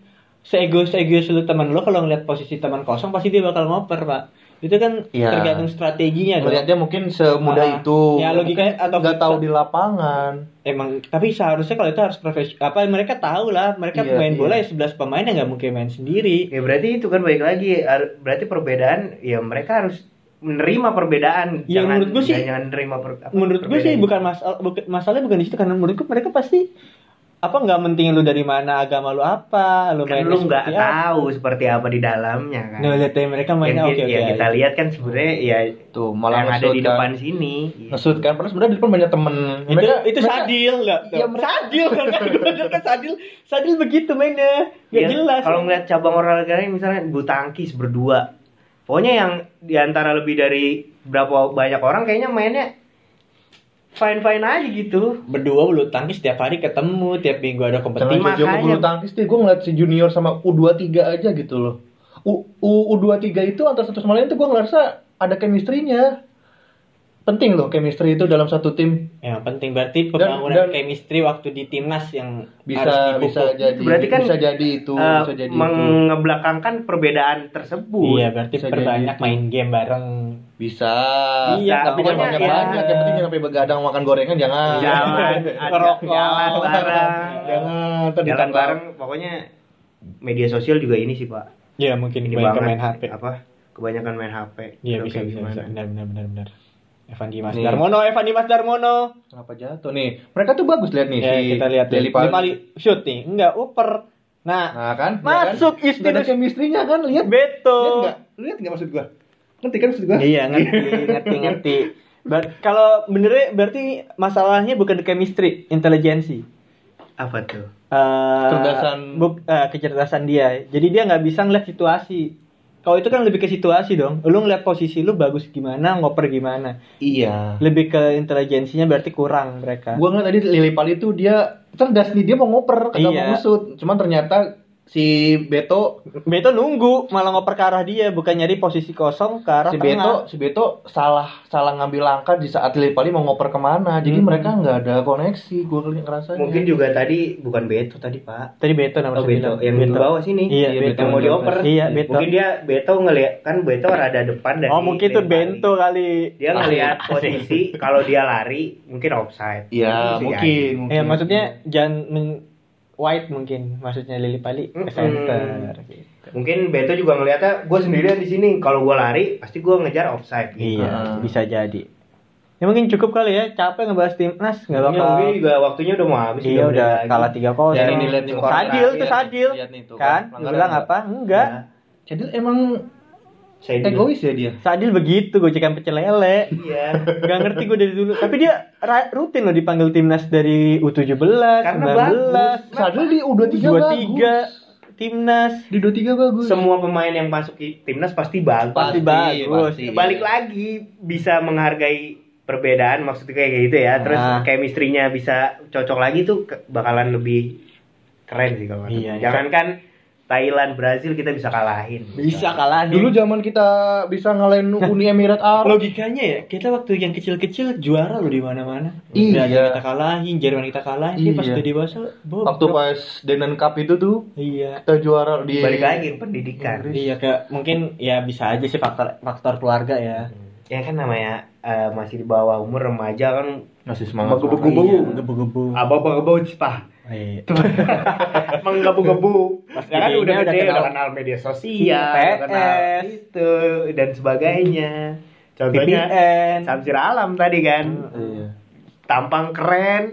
Speaker 1: seegois egois lu teman lu kalau ngeliat posisi teman kosong pasti dia bakal ngoper pak itu kan
Speaker 2: Iya.
Speaker 1: tergantung strateginya dong.
Speaker 2: melihatnya mungkin semudah
Speaker 1: Iya, Ah,
Speaker 2: itu
Speaker 1: ya, logikanya atau
Speaker 2: nggak tahu di lapangan
Speaker 1: emang tapi seharusnya kalau itu harus profesional apa mereka tahu lah mereka
Speaker 2: Iya,
Speaker 1: main
Speaker 2: iya.
Speaker 1: bola ya 11 pemain ya nggak mungkin main sendiri
Speaker 4: ya berarti itu kan baik lagi har- berarti perbedaan ya mereka harus menerima perbedaan
Speaker 1: Ya, menurut gua sih-
Speaker 4: jangan- jangan nerima per- apa,
Speaker 1: menurut gue sih
Speaker 4: perbedaan.
Speaker 1: bukan masalah bukan- masalahnya bukan di situ karena menurut gue mereka pasti apa nggak penting lu dari mana agama lu apa lu
Speaker 4: kan
Speaker 1: main
Speaker 4: lu nggak tahu seperti apa di dalamnya kan
Speaker 1: ya. nah lihat dari mereka
Speaker 4: yang,
Speaker 1: mainnya oke
Speaker 4: ki-
Speaker 1: oke
Speaker 4: yang kita
Speaker 1: aja.
Speaker 4: lihat kan sebenarnya ya
Speaker 2: tuh malah
Speaker 4: yang ada
Speaker 2: ngesut
Speaker 4: di
Speaker 2: kan.
Speaker 4: depan sini
Speaker 2: ngesut kan padahal sebenarnya di depan banyak temen
Speaker 1: itu, itu sadil nggak
Speaker 2: Iya, mereka-
Speaker 1: sadil kan kan gue bilang kan sadil sadil begitu mainnya nggak
Speaker 4: Iya,
Speaker 1: Ya, jelas
Speaker 4: kalau ngeliat cabang olahraga lain misalnya bulu tangkis berdua pokoknya yang diantara lebih dari berapa banyak orang kayaknya mainnya fine fine aja gitu
Speaker 1: berdua bulu tangkis tiap hari ketemu tiap minggu ada
Speaker 2: Jangan
Speaker 1: kompetisi
Speaker 4: Terima
Speaker 2: jauh-jauh ke
Speaker 4: makanya.
Speaker 2: bulu tangkis deh, gue ngeliat si junior sama U23 aja gitu loh. U, U, U23 itu antara satu sama lain itu gue ngerasa ada chemistry-nya. Penting loh chemistry itu dalam satu tim.
Speaker 1: yang Ya, penting berarti pembangunan
Speaker 2: dan-
Speaker 1: chemistry waktu di timnas yang
Speaker 2: Bisa
Speaker 1: harus dipupuk.
Speaker 2: bisa jadi
Speaker 4: Berarti kan,
Speaker 2: Iya, bisa jadi itu,
Speaker 4: Eh,
Speaker 2: bisa jadi itu.
Speaker 4: mengebelakangkan perbedaan tersebut
Speaker 1: Iya, berarti
Speaker 2: Bisa
Speaker 1: perbanyak
Speaker 2: jadi. gitu.
Speaker 1: main game bareng.
Speaker 2: Bisa.
Speaker 1: Iya,
Speaker 2: tapi jangan
Speaker 4: pokoknya
Speaker 2: banyak banyak.
Speaker 1: iya.
Speaker 2: Yang penting jangan sampai begadang makan gorengan jangan.
Speaker 4: jalan ajak
Speaker 1: Ngerokok.
Speaker 4: jalan bareng
Speaker 2: jangan. ntar
Speaker 4: jalan
Speaker 2: ditangkap.
Speaker 4: bareng pokoknya media sosial juga ini sih pak
Speaker 1: Iya, mungkin
Speaker 4: ini
Speaker 1: banyak
Speaker 4: banget
Speaker 1: main HP.
Speaker 2: Iya,
Speaker 4: apa kebanyakan main HP
Speaker 1: Iya,
Speaker 4: Atau
Speaker 1: bisa,
Speaker 4: kayak
Speaker 1: bisa,
Speaker 4: gimana.
Speaker 1: bisa. Benar, benar, benar, benar. Evan Dimas
Speaker 2: Nih.
Speaker 1: Darmono, Evan Dimas Darmono.
Speaker 2: Kenapa jatuh nih? Mereka tuh bagus lihat nih
Speaker 1: Ya,
Speaker 2: si
Speaker 1: kita lihat
Speaker 2: Deli
Speaker 1: Deli
Speaker 2: Pali.
Speaker 1: Pali shoot nih. Enggak, uper. Nah,
Speaker 2: Nah kan? Iya
Speaker 1: Masuk
Speaker 2: kan? Udah ada
Speaker 1: Justinus.
Speaker 2: chemistry-nya kan lihat.
Speaker 1: Beto.
Speaker 2: Lihat nggak? Lihat nggak maksud gua? Ngerti kan maksud gua?
Speaker 1: Iya, ngerti, ngerti, ngerti. Ber- kalau benernya berarti masalahnya bukan di chemistry, intelijensi.
Speaker 4: apa tuh
Speaker 1: Eh,
Speaker 2: Kecerdasan.
Speaker 1: buk- eh, kecerdasan dia. Jadi dia nggak bisa ngeliat situasi. Kalau itu kan lebih ke situasi dong. Lu ngeliat posisi lu bagus gimana, ngoper gimana.
Speaker 6: Iya.
Speaker 1: Lebih ke intelijensinya berarti kurang mereka.
Speaker 2: Gua ngeliat tadi Lili Pali itu dia cerdas nih dia mau ngoper, kagak
Speaker 1: Iya.
Speaker 2: mau ngusut. Cuman ternyata si Beto,
Speaker 1: Beto nunggu malah ngoper ke arah dia, bukan nyari posisi kosong ke arah
Speaker 2: si Beto,
Speaker 1: tengah.
Speaker 2: si Beto salah salah ngambil langkah di saat Lili Pali mau ngoper kemana. Jadi
Speaker 1: Hmm.
Speaker 2: mereka nggak ada koneksi. Gua ngerasanya.
Speaker 4: Mungkin juga tadi bukan Beto tadi, Pak.
Speaker 1: Tadi Beto namanya.
Speaker 4: Oh, Beto yang di bawah sini.
Speaker 1: Iya,
Speaker 4: Yang
Speaker 1: Beto.
Speaker 4: mau dioper.
Speaker 1: Iya, Beto.
Speaker 4: Mungkin dia Beto ngelihat kan Beto rada depan dari
Speaker 1: oh, mungkin itu
Speaker 4: dari
Speaker 1: Bento kali.
Speaker 4: Bali. Dia ngelihat posisi kalau dia lari mungkin offside.
Speaker 2: Iya,
Speaker 4: Bisa
Speaker 2: mungkin,
Speaker 4: jadi.
Speaker 2: mungkin.
Speaker 1: Ya, maksudnya jangan men- white mungkin maksudnya Lili Pali ke
Speaker 4: Mm-mm.
Speaker 1: center. gitu.
Speaker 4: Mungkin Beto juga ngelihatnya gue sendirian di sini. Kalau gue lari pasti gue ngejar offside gitu.
Speaker 1: Iya, bisa jadi. Ya mungkin cukup kali ya, capek ngebahas timnas, nggak
Speaker 4: Mungkin-
Speaker 1: bakal.
Speaker 4: mungkin juga waktunya udah mau Iya, habis.
Speaker 1: Iya udah
Speaker 4: lagi.
Speaker 1: kalah tiga kosong.
Speaker 2: Dan ini lihat nih, skor
Speaker 1: Sadil
Speaker 2: terakhir.
Speaker 1: tuh sadil,
Speaker 2: Lihat nih tuh, kan,
Speaker 1: kan? Dia
Speaker 2: pelanggaran
Speaker 1: bilang
Speaker 2: nggak?
Speaker 1: apa? Enggak.
Speaker 4: Iya.
Speaker 2: Jadi emang
Speaker 4: Saya dulu.
Speaker 2: egois ya dia.
Speaker 1: Sadil begitu, gocekan pecel lele.
Speaker 4: Iya.
Speaker 1: Gak ngerti gue dari dulu. Tapi dia ra- rutin loh dipanggil timnas dari U17,
Speaker 4: Karena
Speaker 1: 19,
Speaker 2: Sadil di U23 bagus.
Speaker 1: 23 timnas.
Speaker 2: Di U23 bagus.
Speaker 4: Semua pemain yang masuk i- timnas pasti bagus.
Speaker 1: Pasti bagus.
Speaker 2: pasti.
Speaker 4: balik lagi bisa menghargai perbedaan maksudnya kayak gitu ya terus
Speaker 1: Nah.
Speaker 4: chemistry-nya bisa cocok lagi tuh ke- bakalan lebih keren sih kalau
Speaker 1: Iya, iya.
Speaker 4: jangankan Thailand Brazil kita bisa kalahin
Speaker 1: Bisa kalah
Speaker 2: Dulu zaman kita bisa ngalahin Uni Emirat Arab.
Speaker 1: logikanya ya kita waktu yang kecil-kecil juara loh di mana-mana.
Speaker 2: Iya.
Speaker 1: Brazil kita kalahin, Jerman kita kalahin, tapi pas
Speaker 2: Iya.
Speaker 1: udah dewasa, bobrok.
Speaker 2: Waktu pas Denon Cup itu tuh
Speaker 1: iya.
Speaker 2: kita juara di
Speaker 4: balik lagi ke pendidikan
Speaker 1: Iya kayak mungkin ya bisa aja sih faktor faktor keluarga ya.
Speaker 4: ya kan namanya eh, masih di bawah umur remaja kan
Speaker 2: masih semangat.
Speaker 1: Iya,
Speaker 2: Iya.
Speaker 4: menggebu-gebu
Speaker 1: Gebu-gebu.
Speaker 4: apa-apa cipah
Speaker 1: Iya.
Speaker 4: menggebu-gebu ya kan
Speaker 1: Gedenya
Speaker 4: udah
Speaker 1: udah
Speaker 4: gede Iya,
Speaker 1: kenal-
Speaker 4: udah kenal media
Speaker 1: Iya,
Speaker 4: sosial udah kenal
Speaker 1: PS.
Speaker 4: itu dan sebagainya contohnya
Speaker 1: VPN.
Speaker 4: Samsir Alam tadi kan
Speaker 2: Iya.
Speaker 4: tampang keren.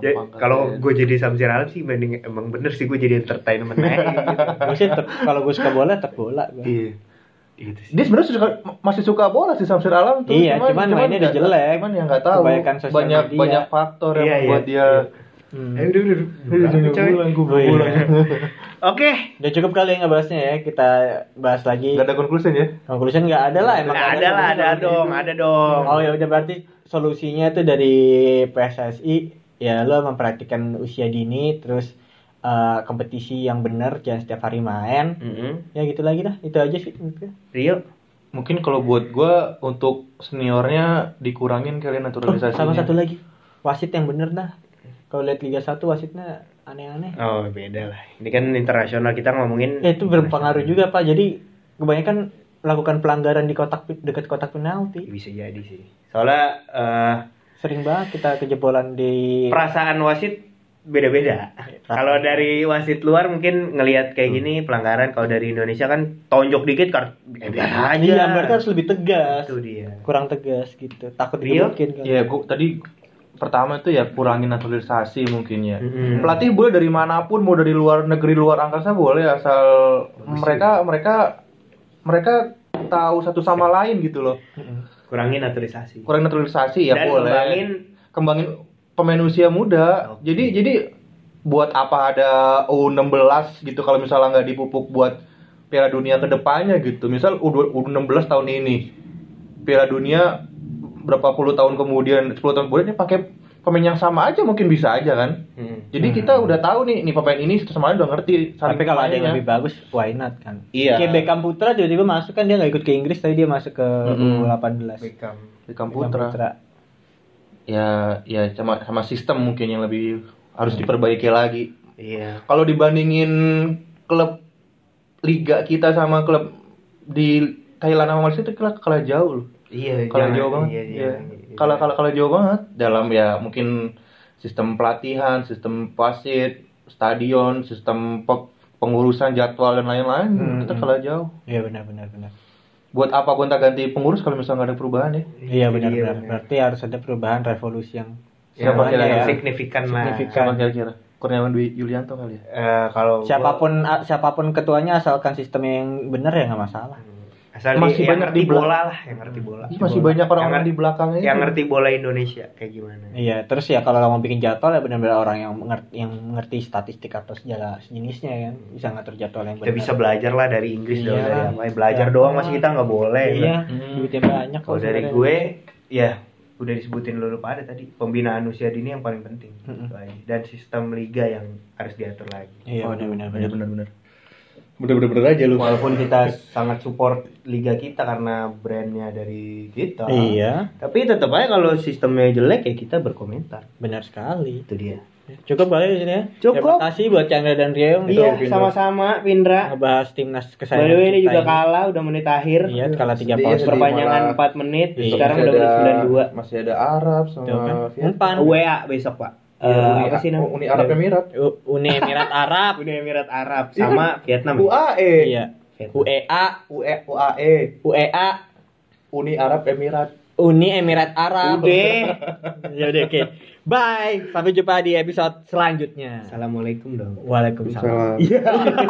Speaker 4: Ya,
Speaker 2: Tampang keren.
Speaker 4: kalau gue jadi Samsir Alam sih mending emang bener sih gue jadi entertainment aja
Speaker 1: Gue sih tetep- kalau gue suka bola tetap bola gue.
Speaker 4: gitu. Iya. Gitu sih.
Speaker 2: Dia sebenarnya suka, masih suka bola sih Samsir Alam tuh.
Speaker 1: Iya, cuman mainnya udah
Speaker 2: nggak-
Speaker 1: jelek.
Speaker 2: Cuman yang nggak tahu.
Speaker 1: Kebanyakan sosial
Speaker 2: Banyak
Speaker 1: media.
Speaker 2: banyak faktor yang
Speaker 4: Iya, iya.
Speaker 2: membuat dia.
Speaker 1: Hmm.
Speaker 4: Eh, udah, udah, udah. Berapa, coy?
Speaker 1: Oh, iya.
Speaker 4: Oke,
Speaker 1: Udah cukup kali ya ngebahasnya ya. Kita bahas lagi.
Speaker 2: Gak ada conclusion ya?
Speaker 1: Conclusion nggak ada lah emang.
Speaker 4: Nah, ada lah,
Speaker 1: solusi
Speaker 4: ada
Speaker 1: kalau
Speaker 4: dong,
Speaker 1: kayak
Speaker 4: ada dong.
Speaker 1: gitu. Oh ya udah berarti solusinya itu dari PSSI ya lo memperhatikan usia dini terus eh, kompetisi yang benar jangan setiap hari main
Speaker 4: Mm-mm.
Speaker 1: ya gitu lagi dah itu aja sih
Speaker 4: Rio,
Speaker 2: Mungkin kalau buat gua untuk seniornya dikurangin
Speaker 1: Oh,
Speaker 2: kalian naturalisasi.
Speaker 1: sama satu lagi wasit yang bener dah kalau lihat Liga 1 wasitnya aneh-aneh
Speaker 4: oh beda lah. Ini kan internasional kita ngomongin.
Speaker 1: Ya, itu berpengaruh juga pak jadi kebanyakan melakukan pelanggaran di kotak dekat kotak penalti
Speaker 4: Bisa jadi sih. Soalnya eh,
Speaker 1: sering banget kita kejebolan di
Speaker 4: perasaan wasit beda-beda. Kalau dari wasit luar mungkin ngelihat kayak gini pelanggaran. Kalau dari Indonesia kan tonjok dikit kartu eh, biasa aja.
Speaker 1: Iya, mereka harus lebih tegas
Speaker 4: Itu dia.
Speaker 1: kurang tegas gitu takut
Speaker 4: Rio?
Speaker 1: digebukin kan.
Speaker 2: Iya, gua tadi pertama itu ya kurangin naturalisasi mungkin ya.
Speaker 4: Mm-mm.
Speaker 2: Pelatih boleh dari manapun, mau dari luar negeri, luar angkasa boleh asal mereka mereka mereka tahu satu sama lain gitu loh.
Speaker 4: kurangin naturalisasi
Speaker 2: Kurang naturalisasi ya
Speaker 4: dan
Speaker 2: boleh.
Speaker 4: ngembangin
Speaker 2: Kembangin pemain usia muda.
Speaker 4: Oke.
Speaker 2: Jadi jadi buat apa ada U16 gitu kalau misalnya nggak dipupuk buat Piala Dunia kedepannya gitu. Misal U2 U16 tahun ini Piala Dunia berapa puluh tahun kemudian 10 tahun kemudian ini pakai pemain yang sama aja mungkin bisa aja kan.
Speaker 4: Hmm.
Speaker 2: Jadi kita udah tahu nih, nih pemain ini satu sama lain udah ngerti. saling
Speaker 1: tapi kalau ada yang
Speaker 2: mainnya.
Speaker 1: lebih bagus why not kan ya.
Speaker 2: Iya.
Speaker 1: kayak Beckham Putra tiba-tiba masuk kan dia nggak ikut ke Inggris tapi dia masuk ke
Speaker 2: Mm-mm.
Speaker 1: U18
Speaker 4: Beckham.
Speaker 2: Beckham
Speaker 1: Beckham
Speaker 2: Putra. Ya, ya sama sama sistem mungkin yang lebih harus diperbaiki lagi.
Speaker 4: iya
Speaker 2: Kalau dibandingin klub liga kita sama klub di Thailand sama Malaysia itu kalah, kalah jauh loh.
Speaker 4: iya
Speaker 2: Kalah
Speaker 4: jangan.
Speaker 2: jauh banget.
Speaker 4: iya, iya,
Speaker 2: Iya.
Speaker 4: iya.
Speaker 2: Kalah kalah kalah jauh banget dalam ya mungkin sistem pelatihan, sistem wasit, stadion, sistem pe- pengurusan jadwal dan lain-lain
Speaker 1: Hmm,
Speaker 2: kita
Speaker 1: hmm.
Speaker 2: kalah jauh.
Speaker 1: iya benar benar benar
Speaker 2: Buat apa gonta ganti pengurus kalau misalnya nggak ada perubahan ya?
Speaker 1: iya benar
Speaker 4: Iya,
Speaker 1: benar berarti harus ada perubahan revolusi yang
Speaker 4: Ya,
Speaker 2: Siapa
Speaker 4: makanya
Speaker 2: kira-kira?
Speaker 4: signifikan lah
Speaker 1: Signifikan.
Speaker 2: Siapa kira-kira? Kurniawan Dwi Yulianto kali ya?
Speaker 4: Eh, kalau
Speaker 1: siapapun a- siapapun ketuanya asalkan sistem yang benar ya nggak masalah
Speaker 4: gua- Hmm. Asal
Speaker 2: Masih
Speaker 4: dia yang
Speaker 2: banyak
Speaker 4: ngerti
Speaker 2: di belakang.
Speaker 4: bola lah, yang ngerti bola.
Speaker 2: masih banyak orang-orang
Speaker 4: Yang
Speaker 2: di belakangnya
Speaker 4: yang
Speaker 2: itu.
Speaker 4: ngerti bola Indonesia kayak gimana.
Speaker 1: Iya, terus ya kalau mau bikin jadwal ya benar-benar orang yang mengerti, yang mengerti statistik atau segala jenisnya kan bisa ngatur jadwal yang
Speaker 4: Kita
Speaker 1: benar.
Speaker 4: bisa belajar lah dari Inggris dong
Speaker 1: Iya.
Speaker 4: dari apa. ya. Belajar doang masih kita nggak boleh.
Speaker 1: Iya,
Speaker 2: Hmm.
Speaker 1: duitnya banyak
Speaker 4: Kalau dari gue, ya udah disebutin lulu pada tadi pembinaan usia dini yang paling penting
Speaker 1: Mm-mm.
Speaker 4: Itu aja. dan sistem liga yang harus diatur lagi
Speaker 1: Iya, benar-benar
Speaker 5: Iya
Speaker 1: benar.
Speaker 5: benar-benar. Bener-bener aja lu.
Speaker 4: walaupun kita sangat support liga kita karena brandnya dari kita
Speaker 1: Iya,
Speaker 4: tapi tetap aja kalau sistemnya jelek ya kita berkomentar
Speaker 1: benar sekali.
Speaker 4: itu dia
Speaker 1: Cukup kali di sini ya.
Speaker 4: Cukup.
Speaker 1: Terima kasih buat Chandra dan Rio
Speaker 4: iya
Speaker 1: untuk
Speaker 4: sama-sama Pindra
Speaker 1: ngebahas timnas
Speaker 4: by
Speaker 1: kesayangan.
Speaker 4: the way ini
Speaker 1: kita
Speaker 4: juga kalah udah menit akhir
Speaker 1: Iya, kalah 3
Speaker 2: Sedih,
Speaker 1: poin.
Speaker 2: sedih.
Speaker 4: perpanjangan
Speaker 2: malah-
Speaker 4: 4 menit
Speaker 1: Iya.
Speaker 4: sekarang
Speaker 2: Masih
Speaker 4: udah menit
Speaker 2: ada-
Speaker 4: 92
Speaker 2: Masih ada Arab sama
Speaker 1: Tuh kan.
Speaker 4: Iya.
Speaker 1: Umpan.
Speaker 4: WA besok pak
Speaker 2: Iya,
Speaker 4: Eh,
Speaker 2: Uni-
Speaker 4: apa sih namanya?
Speaker 2: Uni Arab Emirat.
Speaker 1: U- Uni Emirat Arab.
Speaker 4: Uni Emirat
Speaker 2: Iya
Speaker 4: Arab sama Vietnam. ya?
Speaker 2: UAE.
Speaker 1: Iya.
Speaker 4: Vietnam.
Speaker 2: E.
Speaker 1: UEA,
Speaker 2: UE UAE.
Speaker 1: UEA,
Speaker 2: E. Uni Arab Emirat.
Speaker 1: Uni Emirat Arab.
Speaker 4: Udah.
Speaker 1: ya udah oke. Bye. Sampai jumpa di episode selanjutnya.
Speaker 4: Assalamualaikum dong.
Speaker 1: Waalaikumsalam.
Speaker 2: Salam.